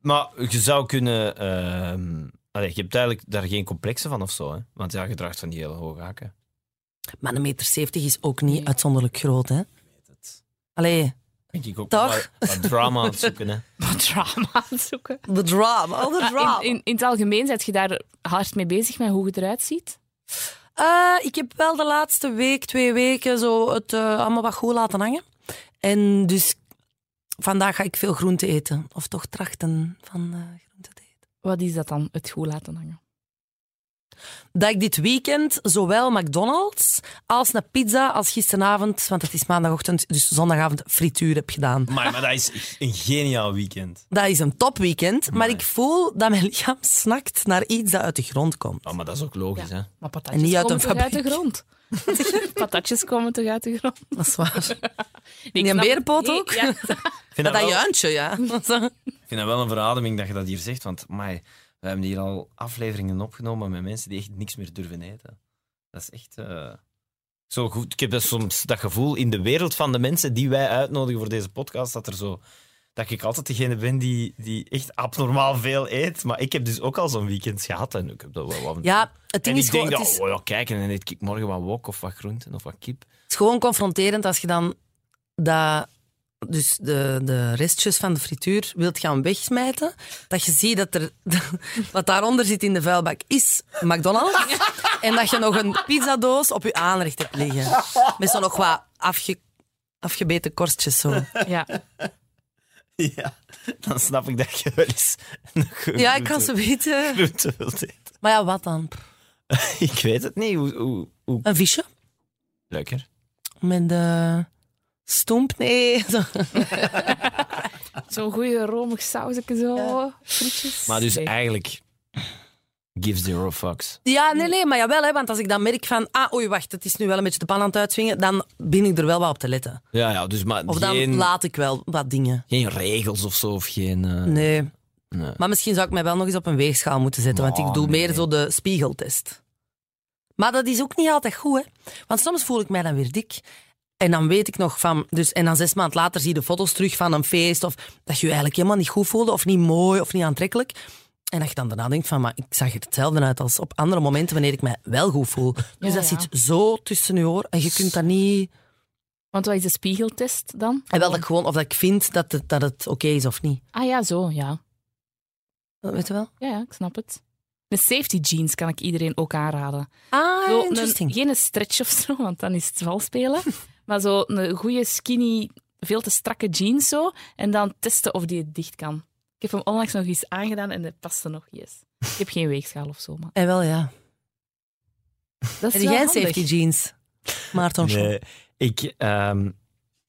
B: Maar je zou kunnen... ehm, Allee, je hebt eigenlijk daar geen complexen van of zo, hè? Want ja, je draagt van die hele hoge hakken.
C: Maar een meter 70 is ook niet
D: Nee.
C: uitzonderlijk groot, hè? Allee,
B: Denk ik ook
C: Toch?
B: Wat, wat drama aan het zoeken, hè?
D: Wat drama aan het zoeken.
C: the drama, all the
D: Ja,
C: drama.
D: Ah, in, in, in het algemeen zet je daar hard mee bezig met hoe je eruit ziet.
C: Eh, ik heb wel de laatste week, twee weken, zo het eh, allemaal wat goed laten hangen. En dus vandaag ga ik veel groente eten. Of toch trachten van eh groente te eten.
D: Wat is dat dan, het goed laten hangen?
C: Dat ik dit weekend zowel McDonald's als een pizza als gisteravond, want het is maandagochtend, dus zondagavond frituur heb gedaan.
B: Maar, maar dat is een geniaal weekend.
C: Dat is een topweekend, maar ik voel dat mijn lichaam snakt naar iets dat uit de grond komt.
B: Oh, maar dat is ook logisch, hè?
D: Maar
C: En
D: patatjes
C: niet uit
D: komen
C: een
D: toch uit de
C: fabriek.
D: grond? patatjes komen toch uit de grond?
C: Dat is waar.
D: Nee,
C: En
D: ik
C: die
D: snap-
C: berenpoot
D: Nee,
C: ook?
D: ja.
B: Ik vind dat,
C: Dat, dat
B: wel,
C: juintje, ja.
B: ik vind dat wel een verademing dat je dat hier zegt, want amai, we hebben hier al afleveringen opgenomen met mensen die echt niks meer durven eten. Dat is echt... eh, Zo goed. Ik heb dat soms dat gevoel in de wereld van de mensen die wij uitnodigen voor deze podcast, dat er zo... Dat ik altijd degene ben die, die echt abnormaal veel eet. Maar ik heb dus ook al zo'n weekend gehad en ik heb dat wel... wat-
C: Ja, het
B: en
C: ding
B: ik
C: is gewoon,
B: denk
C: het
B: dat,
C: is,
B: oh ja, kijk, en dan eet ik morgen wat wok of wat groenten of wat kip.
C: het is gewoon confronterend als je dan dat, dus de, de restjes van de frituur wilt gaan wegsmijten. Dat je ziet dat er, wat daaronder zit in de vuilbak is McDonald's. en dat je nog een pizzadoos op je aanrecht hebt liggen. Met zo nog wat afge, afgebeten korstjes zo.
D: Ja.
B: Ja, dan snap ik dat je wel eens een groente,
C: Ja, ik kan ze weten.
B: groente wilt eten.
C: Maar ja, wat dan?
B: Ik weet het niet. Hoe, hoe, hoe...
C: Een visje?
B: Lekker.
C: Met de stomp? Nee. Zo.
D: Zo'n goede romig sausje zo, frietjes.
B: Maar dus
D: Nee.
B: eigenlijk, give zero fucks.
C: Ja, nee, nee, maar jawel. Hè, want als ik dan merk van, ah, oei, wacht, het is nu wel een beetje de pan aan het uitzwingen, dan begin ik er wel wat op te letten.
B: Ja, ja dus maar
C: Of dan
B: geen,
C: laat ik wel wat dingen.
B: geen regels of zo, of geen... eh,
C: Nee. Ah,
B: nee.
C: Maar misschien zou ik mij wel nog eens op een weegschaal moeten zetten, want ik
B: Oh,
C: doe
B: nee.
C: meer zo de spiegeltest. Maar dat is ook niet altijd goed, hè. Want soms voel ik mij dan weer dik. En dan weet ik nog van... Dus, en dan zes maand later zie je de foto's terug van een feest. Of dat je je eigenlijk helemaal niet goed voelde. Of niet mooi, of niet aantrekkelijk. En dat je dan daarna denkt van... Maar ik zag er hetzelfde uit als op andere momenten wanneer ik mij wel goed voel. Dus
D: Ja,
C: dat
D: ja.
C: zit zo tussen je oor. En je kunt dat niet...
D: Want wat is de spiegeltest dan?
C: En wel dat ik gewoon, of dat ik vind dat het, dat het oké is of niet.
D: Ah ja, zo, ja.
C: Dat Weet je wel?
D: Ja, ja, ik snap het. Een safety jeans kan ik iedereen ook aanraden.
C: Ah,
D: Zo, een,
C: interesting.
D: geen een stretch of zo, want dan is het wel spelen. maar zo een goede skinny, veel te strakke jeans zo. En dan testen of die het dicht kan. Ik heb hem onlangs nog eens aangedaan en dat paste nog yes. Ik heb geen weegschaal of zo, maar
C: En Eh, wel, ja. Heb
D: dat
C: jij
D: is wel
C: een
D: handig.
C: safety jeans? Maarten Schoen.
B: Nee, ik, ehm,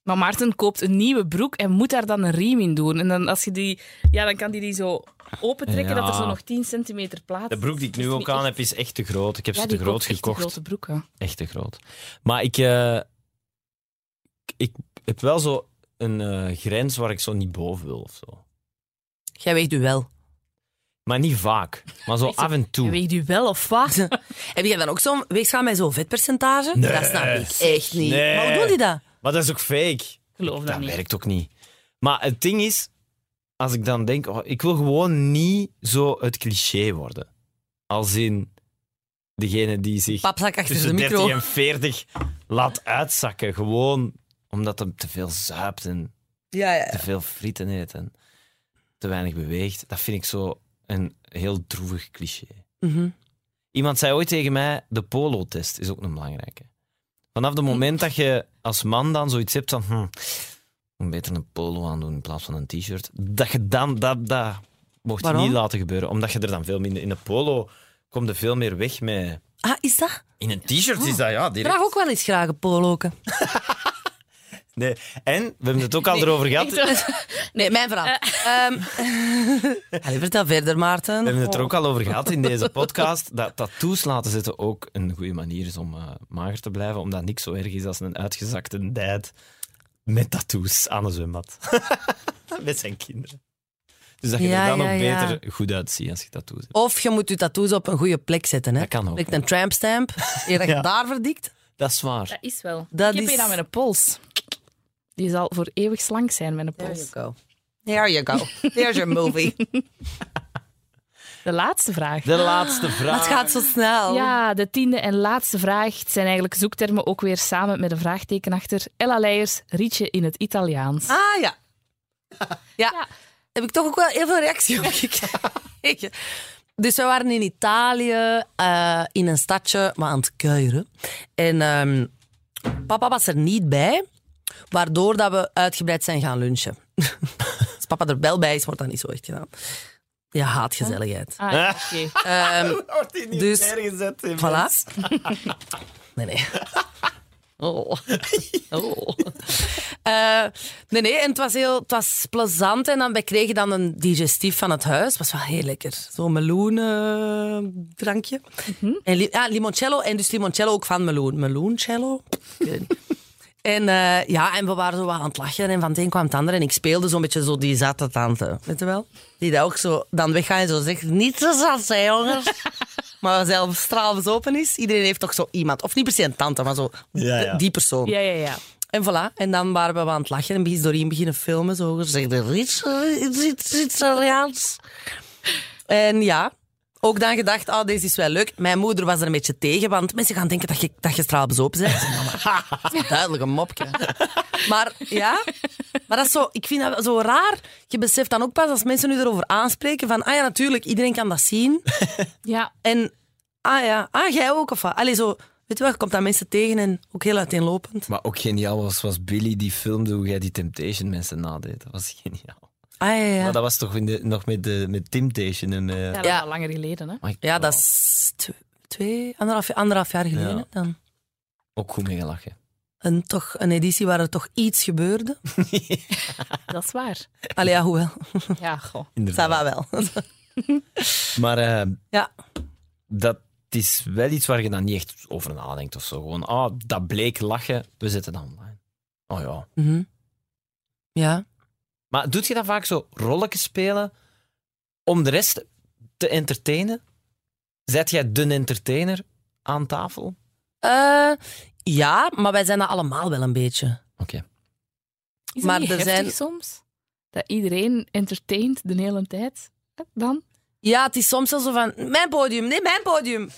D: Maar Maarten koopt een nieuwe broek en moet daar dan een riem in doen. En dan, als je die, ja, dan kan hij die, zo opentrekken
B: Ja.
D: dat er zo nog 10 centimeter plaats
B: de broek die ik
D: is.
B: nu
D: Dat is
B: ook
D: niet
B: aan
D: echt-
B: heb is echt te groot. Ik heb
D: Ja,
B: ze
D: die
B: te groot
D: koopt echt te
B: gekocht.
D: grote broeken.
B: Echt te groot. Maar ik, eh, ik heb wel zo een eh, grens waar ik zo niet boven wil of zo.
C: Jij weegt u wel.
B: Maar niet vaak. Maar zo
D: Echt zo-
B: af en toe.
D: Weegt u wel of wat?
C: Heb jij dan ook zo'n weegschaal met zo'n vetpercentage?
B: Nee.
C: Dat snap ik echt niet.
B: Nee.
C: Maar hoe doen die dat?
B: Maar dat is ook fake.
D: Geloof dat
B: Dat
D: niet.
B: werkt ook niet. Maar het ding is, als ik dan denk, oh, ik wil gewoon niet zo het cliché worden. Als in degene die zich
C: Papzak achter dus de
B: tussen 30
C: micro.
B: en 40 laat uitzakken. Gewoon omdat hem te veel zuipt en
C: Ja,
B: te
C: ja.
B: veel frieten eet en te weinig beweegt. Dat vind ik zo een heel droevig cliché.
C: Mhm.
B: Iemand zei ooit tegen mij, de polotest is ook een belangrijke. Vanaf het moment dat je als man dan zoiets hebt van... Hm, ik moet beter een polo aandoen in plaats van een t-shirt. Dat je dan... Dat, dat mocht je
C: Waarom?
B: niet laten gebeuren. Omdat je er dan veel minder... In een polo komt er veel meer weg met...
C: Ah, is dat?
B: In een t-shirt is dat, ja, direct.
C: Vraag ook wel eens graag een poloken.
B: Nee. En, we hebben het ook al erover gehad. We
C: Nee, mijn Ehm. verhaal. Ehm, Allee, vertel verder, Maarten.
B: hebben het er ook al over gehad in deze podcast. Dat tattoos laten zitten ook een goede manier is om eh, mager te blijven. Omdat niks zo erg is als een uitgezakte dad met tattoos aan een zwembad. met zijn kinderen. Dus dat je
C: Ja,
B: er dan
C: ja,
B: ook
C: ja.
B: beter goed uitziet als je tattoos hebt.
C: Of je moet je tattoos op een goede plek zetten. Hè?
B: Dat kan ook,
C: Like
B: ja.
C: een trampstamp. Eer dat je
B: Ja.
C: daar verdikt.
B: Dat is waar.
D: Dat is wel.
C: Dat
D: ik heb
C: is-
D: hier aan mijn pols. Die zal voor eeuwig slank zijn, mijn
C: There you
D: pols.
C: go. There you go. There's your movie.
D: De laatste vraag.
C: Ah.
B: De laatste vraag.
C: Het gaat zo snel.
D: Ja, de tiende en laatste vraag. Het zijn eigenlijk zoektermen ook weer samen met een vraagteken achter. Ella Leijers, Rietje in het Italiaans.
C: Ah ja. ja.
D: Ja.
C: Heb ik toch ook wel heel veel reactie op gekregen. Dus we waren in Italië, eh, in een stadje, maar aan het kuieren. En ehm, papa was er niet bij, waardoor dat we uitgebreid zijn gaan lunchen. Als papa er wel bij is, wordt dat niet zo echt gedaan. Ja, haat gezelligheid.
D: Ah, ja, oké.
C: Ehm,
B: Wordt die niet
C: Dus-
B: neergezet, hè,
C: Voilà. Nee, nee. Oh. Oh. Eh, nee, nee, en het was heel het was plezant. En dan, wij kregen dan een digestief van het huis. Het was wel heel lekker. Zo'n meloendrankje. en li- ja, limoncello. En dus limoncello ook van meloen. Meloencello? Ik weet het niet. En eh, ja, en we waren zo wat aan het lachen en van het een kwam het ander. En ik speelde zo'n beetje zo die zatte tante, weet je wel? Die dat ook zo dan weggaat en zo zegt, niet zo zat zijn jongens. maar zelf stralens open is. Iedereen heeft toch zo iemand. Of niet per se een tante, maar zo
B: Ja, ja.
C: die persoon.
D: ja, ja, ja.
C: En voilà, en dan waren we aan het lachen en is Doreen beginnen filmen. Zo gezegd, er is iets Italiaans. En ja, ook dan gedacht, oh, deze is wel leuk. Mijn moeder was er een beetje tegen, want mensen gaan denken dat je, dat je straalbezopen bent. Ik zei, "Mama, dat is Duidelijk een mopje. Maar ja, maar dat is zo, ik vind dat wel zo raar. Je beseft dan ook pas als mensen nu erover aanspreken van, ah ja, natuurlijk, iedereen kan dat zien.
D: Ja,
C: En, ah ja, ah, jij ook of wat? Allee, zo, weet je wel, je komt dat mensen tegen en ook heel uiteenlopend.
B: Maar ook geniaal was, was Billy die filmde hoe jij die Temptation mensen nadeed. Dat was geniaal.
C: Ah ja, ja.
B: Maar dat was toch in de- nog met, de, met Temptation en... eh,
D: ja, dat
C: Ja.
D: is al langer geleden. Hè.
B: my
C: Ja,
B: God.
C: dat is tw- twee, anderhalf, anderhalf jaar geleden
B: Ja.
C: dan.
B: Ook goed mee gelachen.
C: Een, toch, een editie waar er toch iets gebeurde.
D: Dat is waar.
C: Allee, ja, hoewel.
D: Ja, goh.
C: Ça
B: Inderdaad.
C: va wel.
B: Maar eh,
C: Ja.
B: dat is wel iets waar je dan niet echt over nadenkt of zo. Gewoon, ah, dat bleek lachen, we zetten dat online. Oh ja.
C: Mhm. Ja.
B: Maar doet je dan vaak zo rolletjes spelen om de rest te entertainen? Zet jij de entertainer aan tafel?
C: Eh, ja, maar wij zijn dat allemaal wel een beetje.
B: Oké.
C: Maar
D: Is maar niet
C: er
D: heftig
C: zijn-
D: soms? Dat iedereen entertaint de hele tijd? Hè, Dan?
C: Ja, het is soms wel zo van, mijn podium, nee, mijn podium.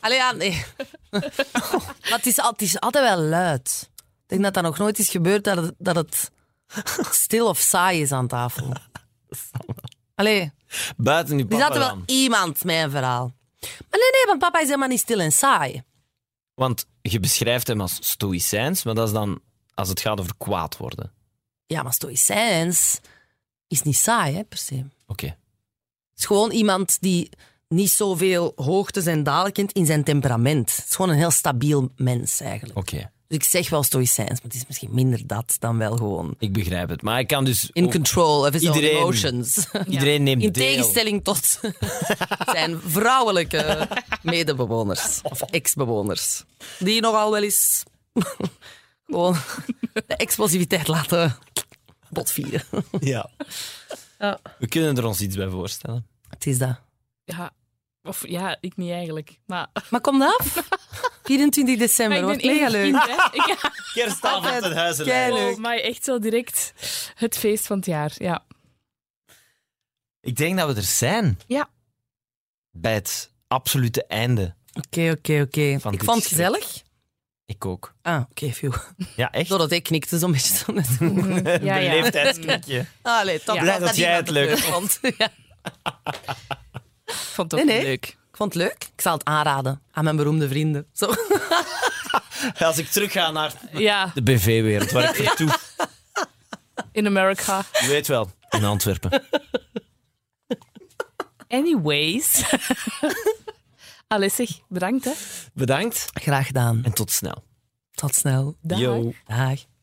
C: Allee, ja, nee. maar het is, al- het is altijd wel luid. Ik denk dat dat nog nooit is gebeurd, dat het, dat het stil of saai is aan tafel. Allee,
B: Buiten die
C: er
B: papa
C: zat er wel
B: dan.
C: iemand met een verhaal. Maar nee, nee, want papa is helemaal niet stil en saai.
B: Want je beschrijft hem als stoïcijns, maar dat is dan als het gaat over kwaad worden.
C: Ja, maar stoïcijns is niet saai, hè, per se. Het
B: Oké.
C: is gewoon iemand die niet zoveel hoogtes en dalen kent in zijn temperament. Het is gewoon een heel stabiel mens, eigenlijk.
B: Oké,
C: Dus ik zeg wel stoïcijns, maar het is misschien minder dat dan wel gewoon...
B: ik begrijp het. Maar ik kan dus...
C: In
B: ook-
C: control of his own
B: Iedereen.
C: emotions.
B: Iedereen neemt
C: In
B: deel.
C: tegenstelling tot zijn vrouwelijke medebewoners. Of ex-bewoners. Die nogal wel eens gewoon de explosiviteit laten botvieren.
B: Ja. We kunnen er ons iets bij voorstellen.
C: Het is dat.
D: Ja, of ja, ik niet eigenlijk. Maar
C: Maar kom dat af. 24 december.
D: ik ben
C: Wordt mega
D: enig
C: leuk.
D: kind, hè. Ik-
B: Kerstavond
C: Altijd
B: het huizenlijn.
C: keileur. Leuk.
D: Oh, maar echt zo direct het feest van het jaar. Ja.
B: Ik denk dat we er zijn.
D: Ja.
B: Bij het absolute einde.
C: Oké, oké, oké.
B: Van
C: Ik
B: dit
C: vond
B: schrik.
C: het gezellig.
B: Ik ook.
C: Ah, oké, phew.
B: Ja, echt?
C: Doordat ik knikte zo'n beetje.
D: ja, ja.
B: leeftijdsknikje.
C: Allee, toch
D: Ja.
B: Blij dat jij het leuk
C: vond. Ja.
D: Ik vond het ook
C: Nee, nee.
D: leuk.
C: Ik vond het leuk. Ik zal het aanraden aan mijn beroemde vrienden. Zo.
B: Als ik terug ga naar
D: Ja,
B: de BV-wereld waar ik vertoef.
D: in America.
B: Je weet wel. In Antwerpen.
D: Anyways. Alessig, bedankt hè.
B: Bedankt
C: Graag gedaan.
B: en tot snel.
C: Tot snel.
D: Dag.
B: Yo.
C: Dag.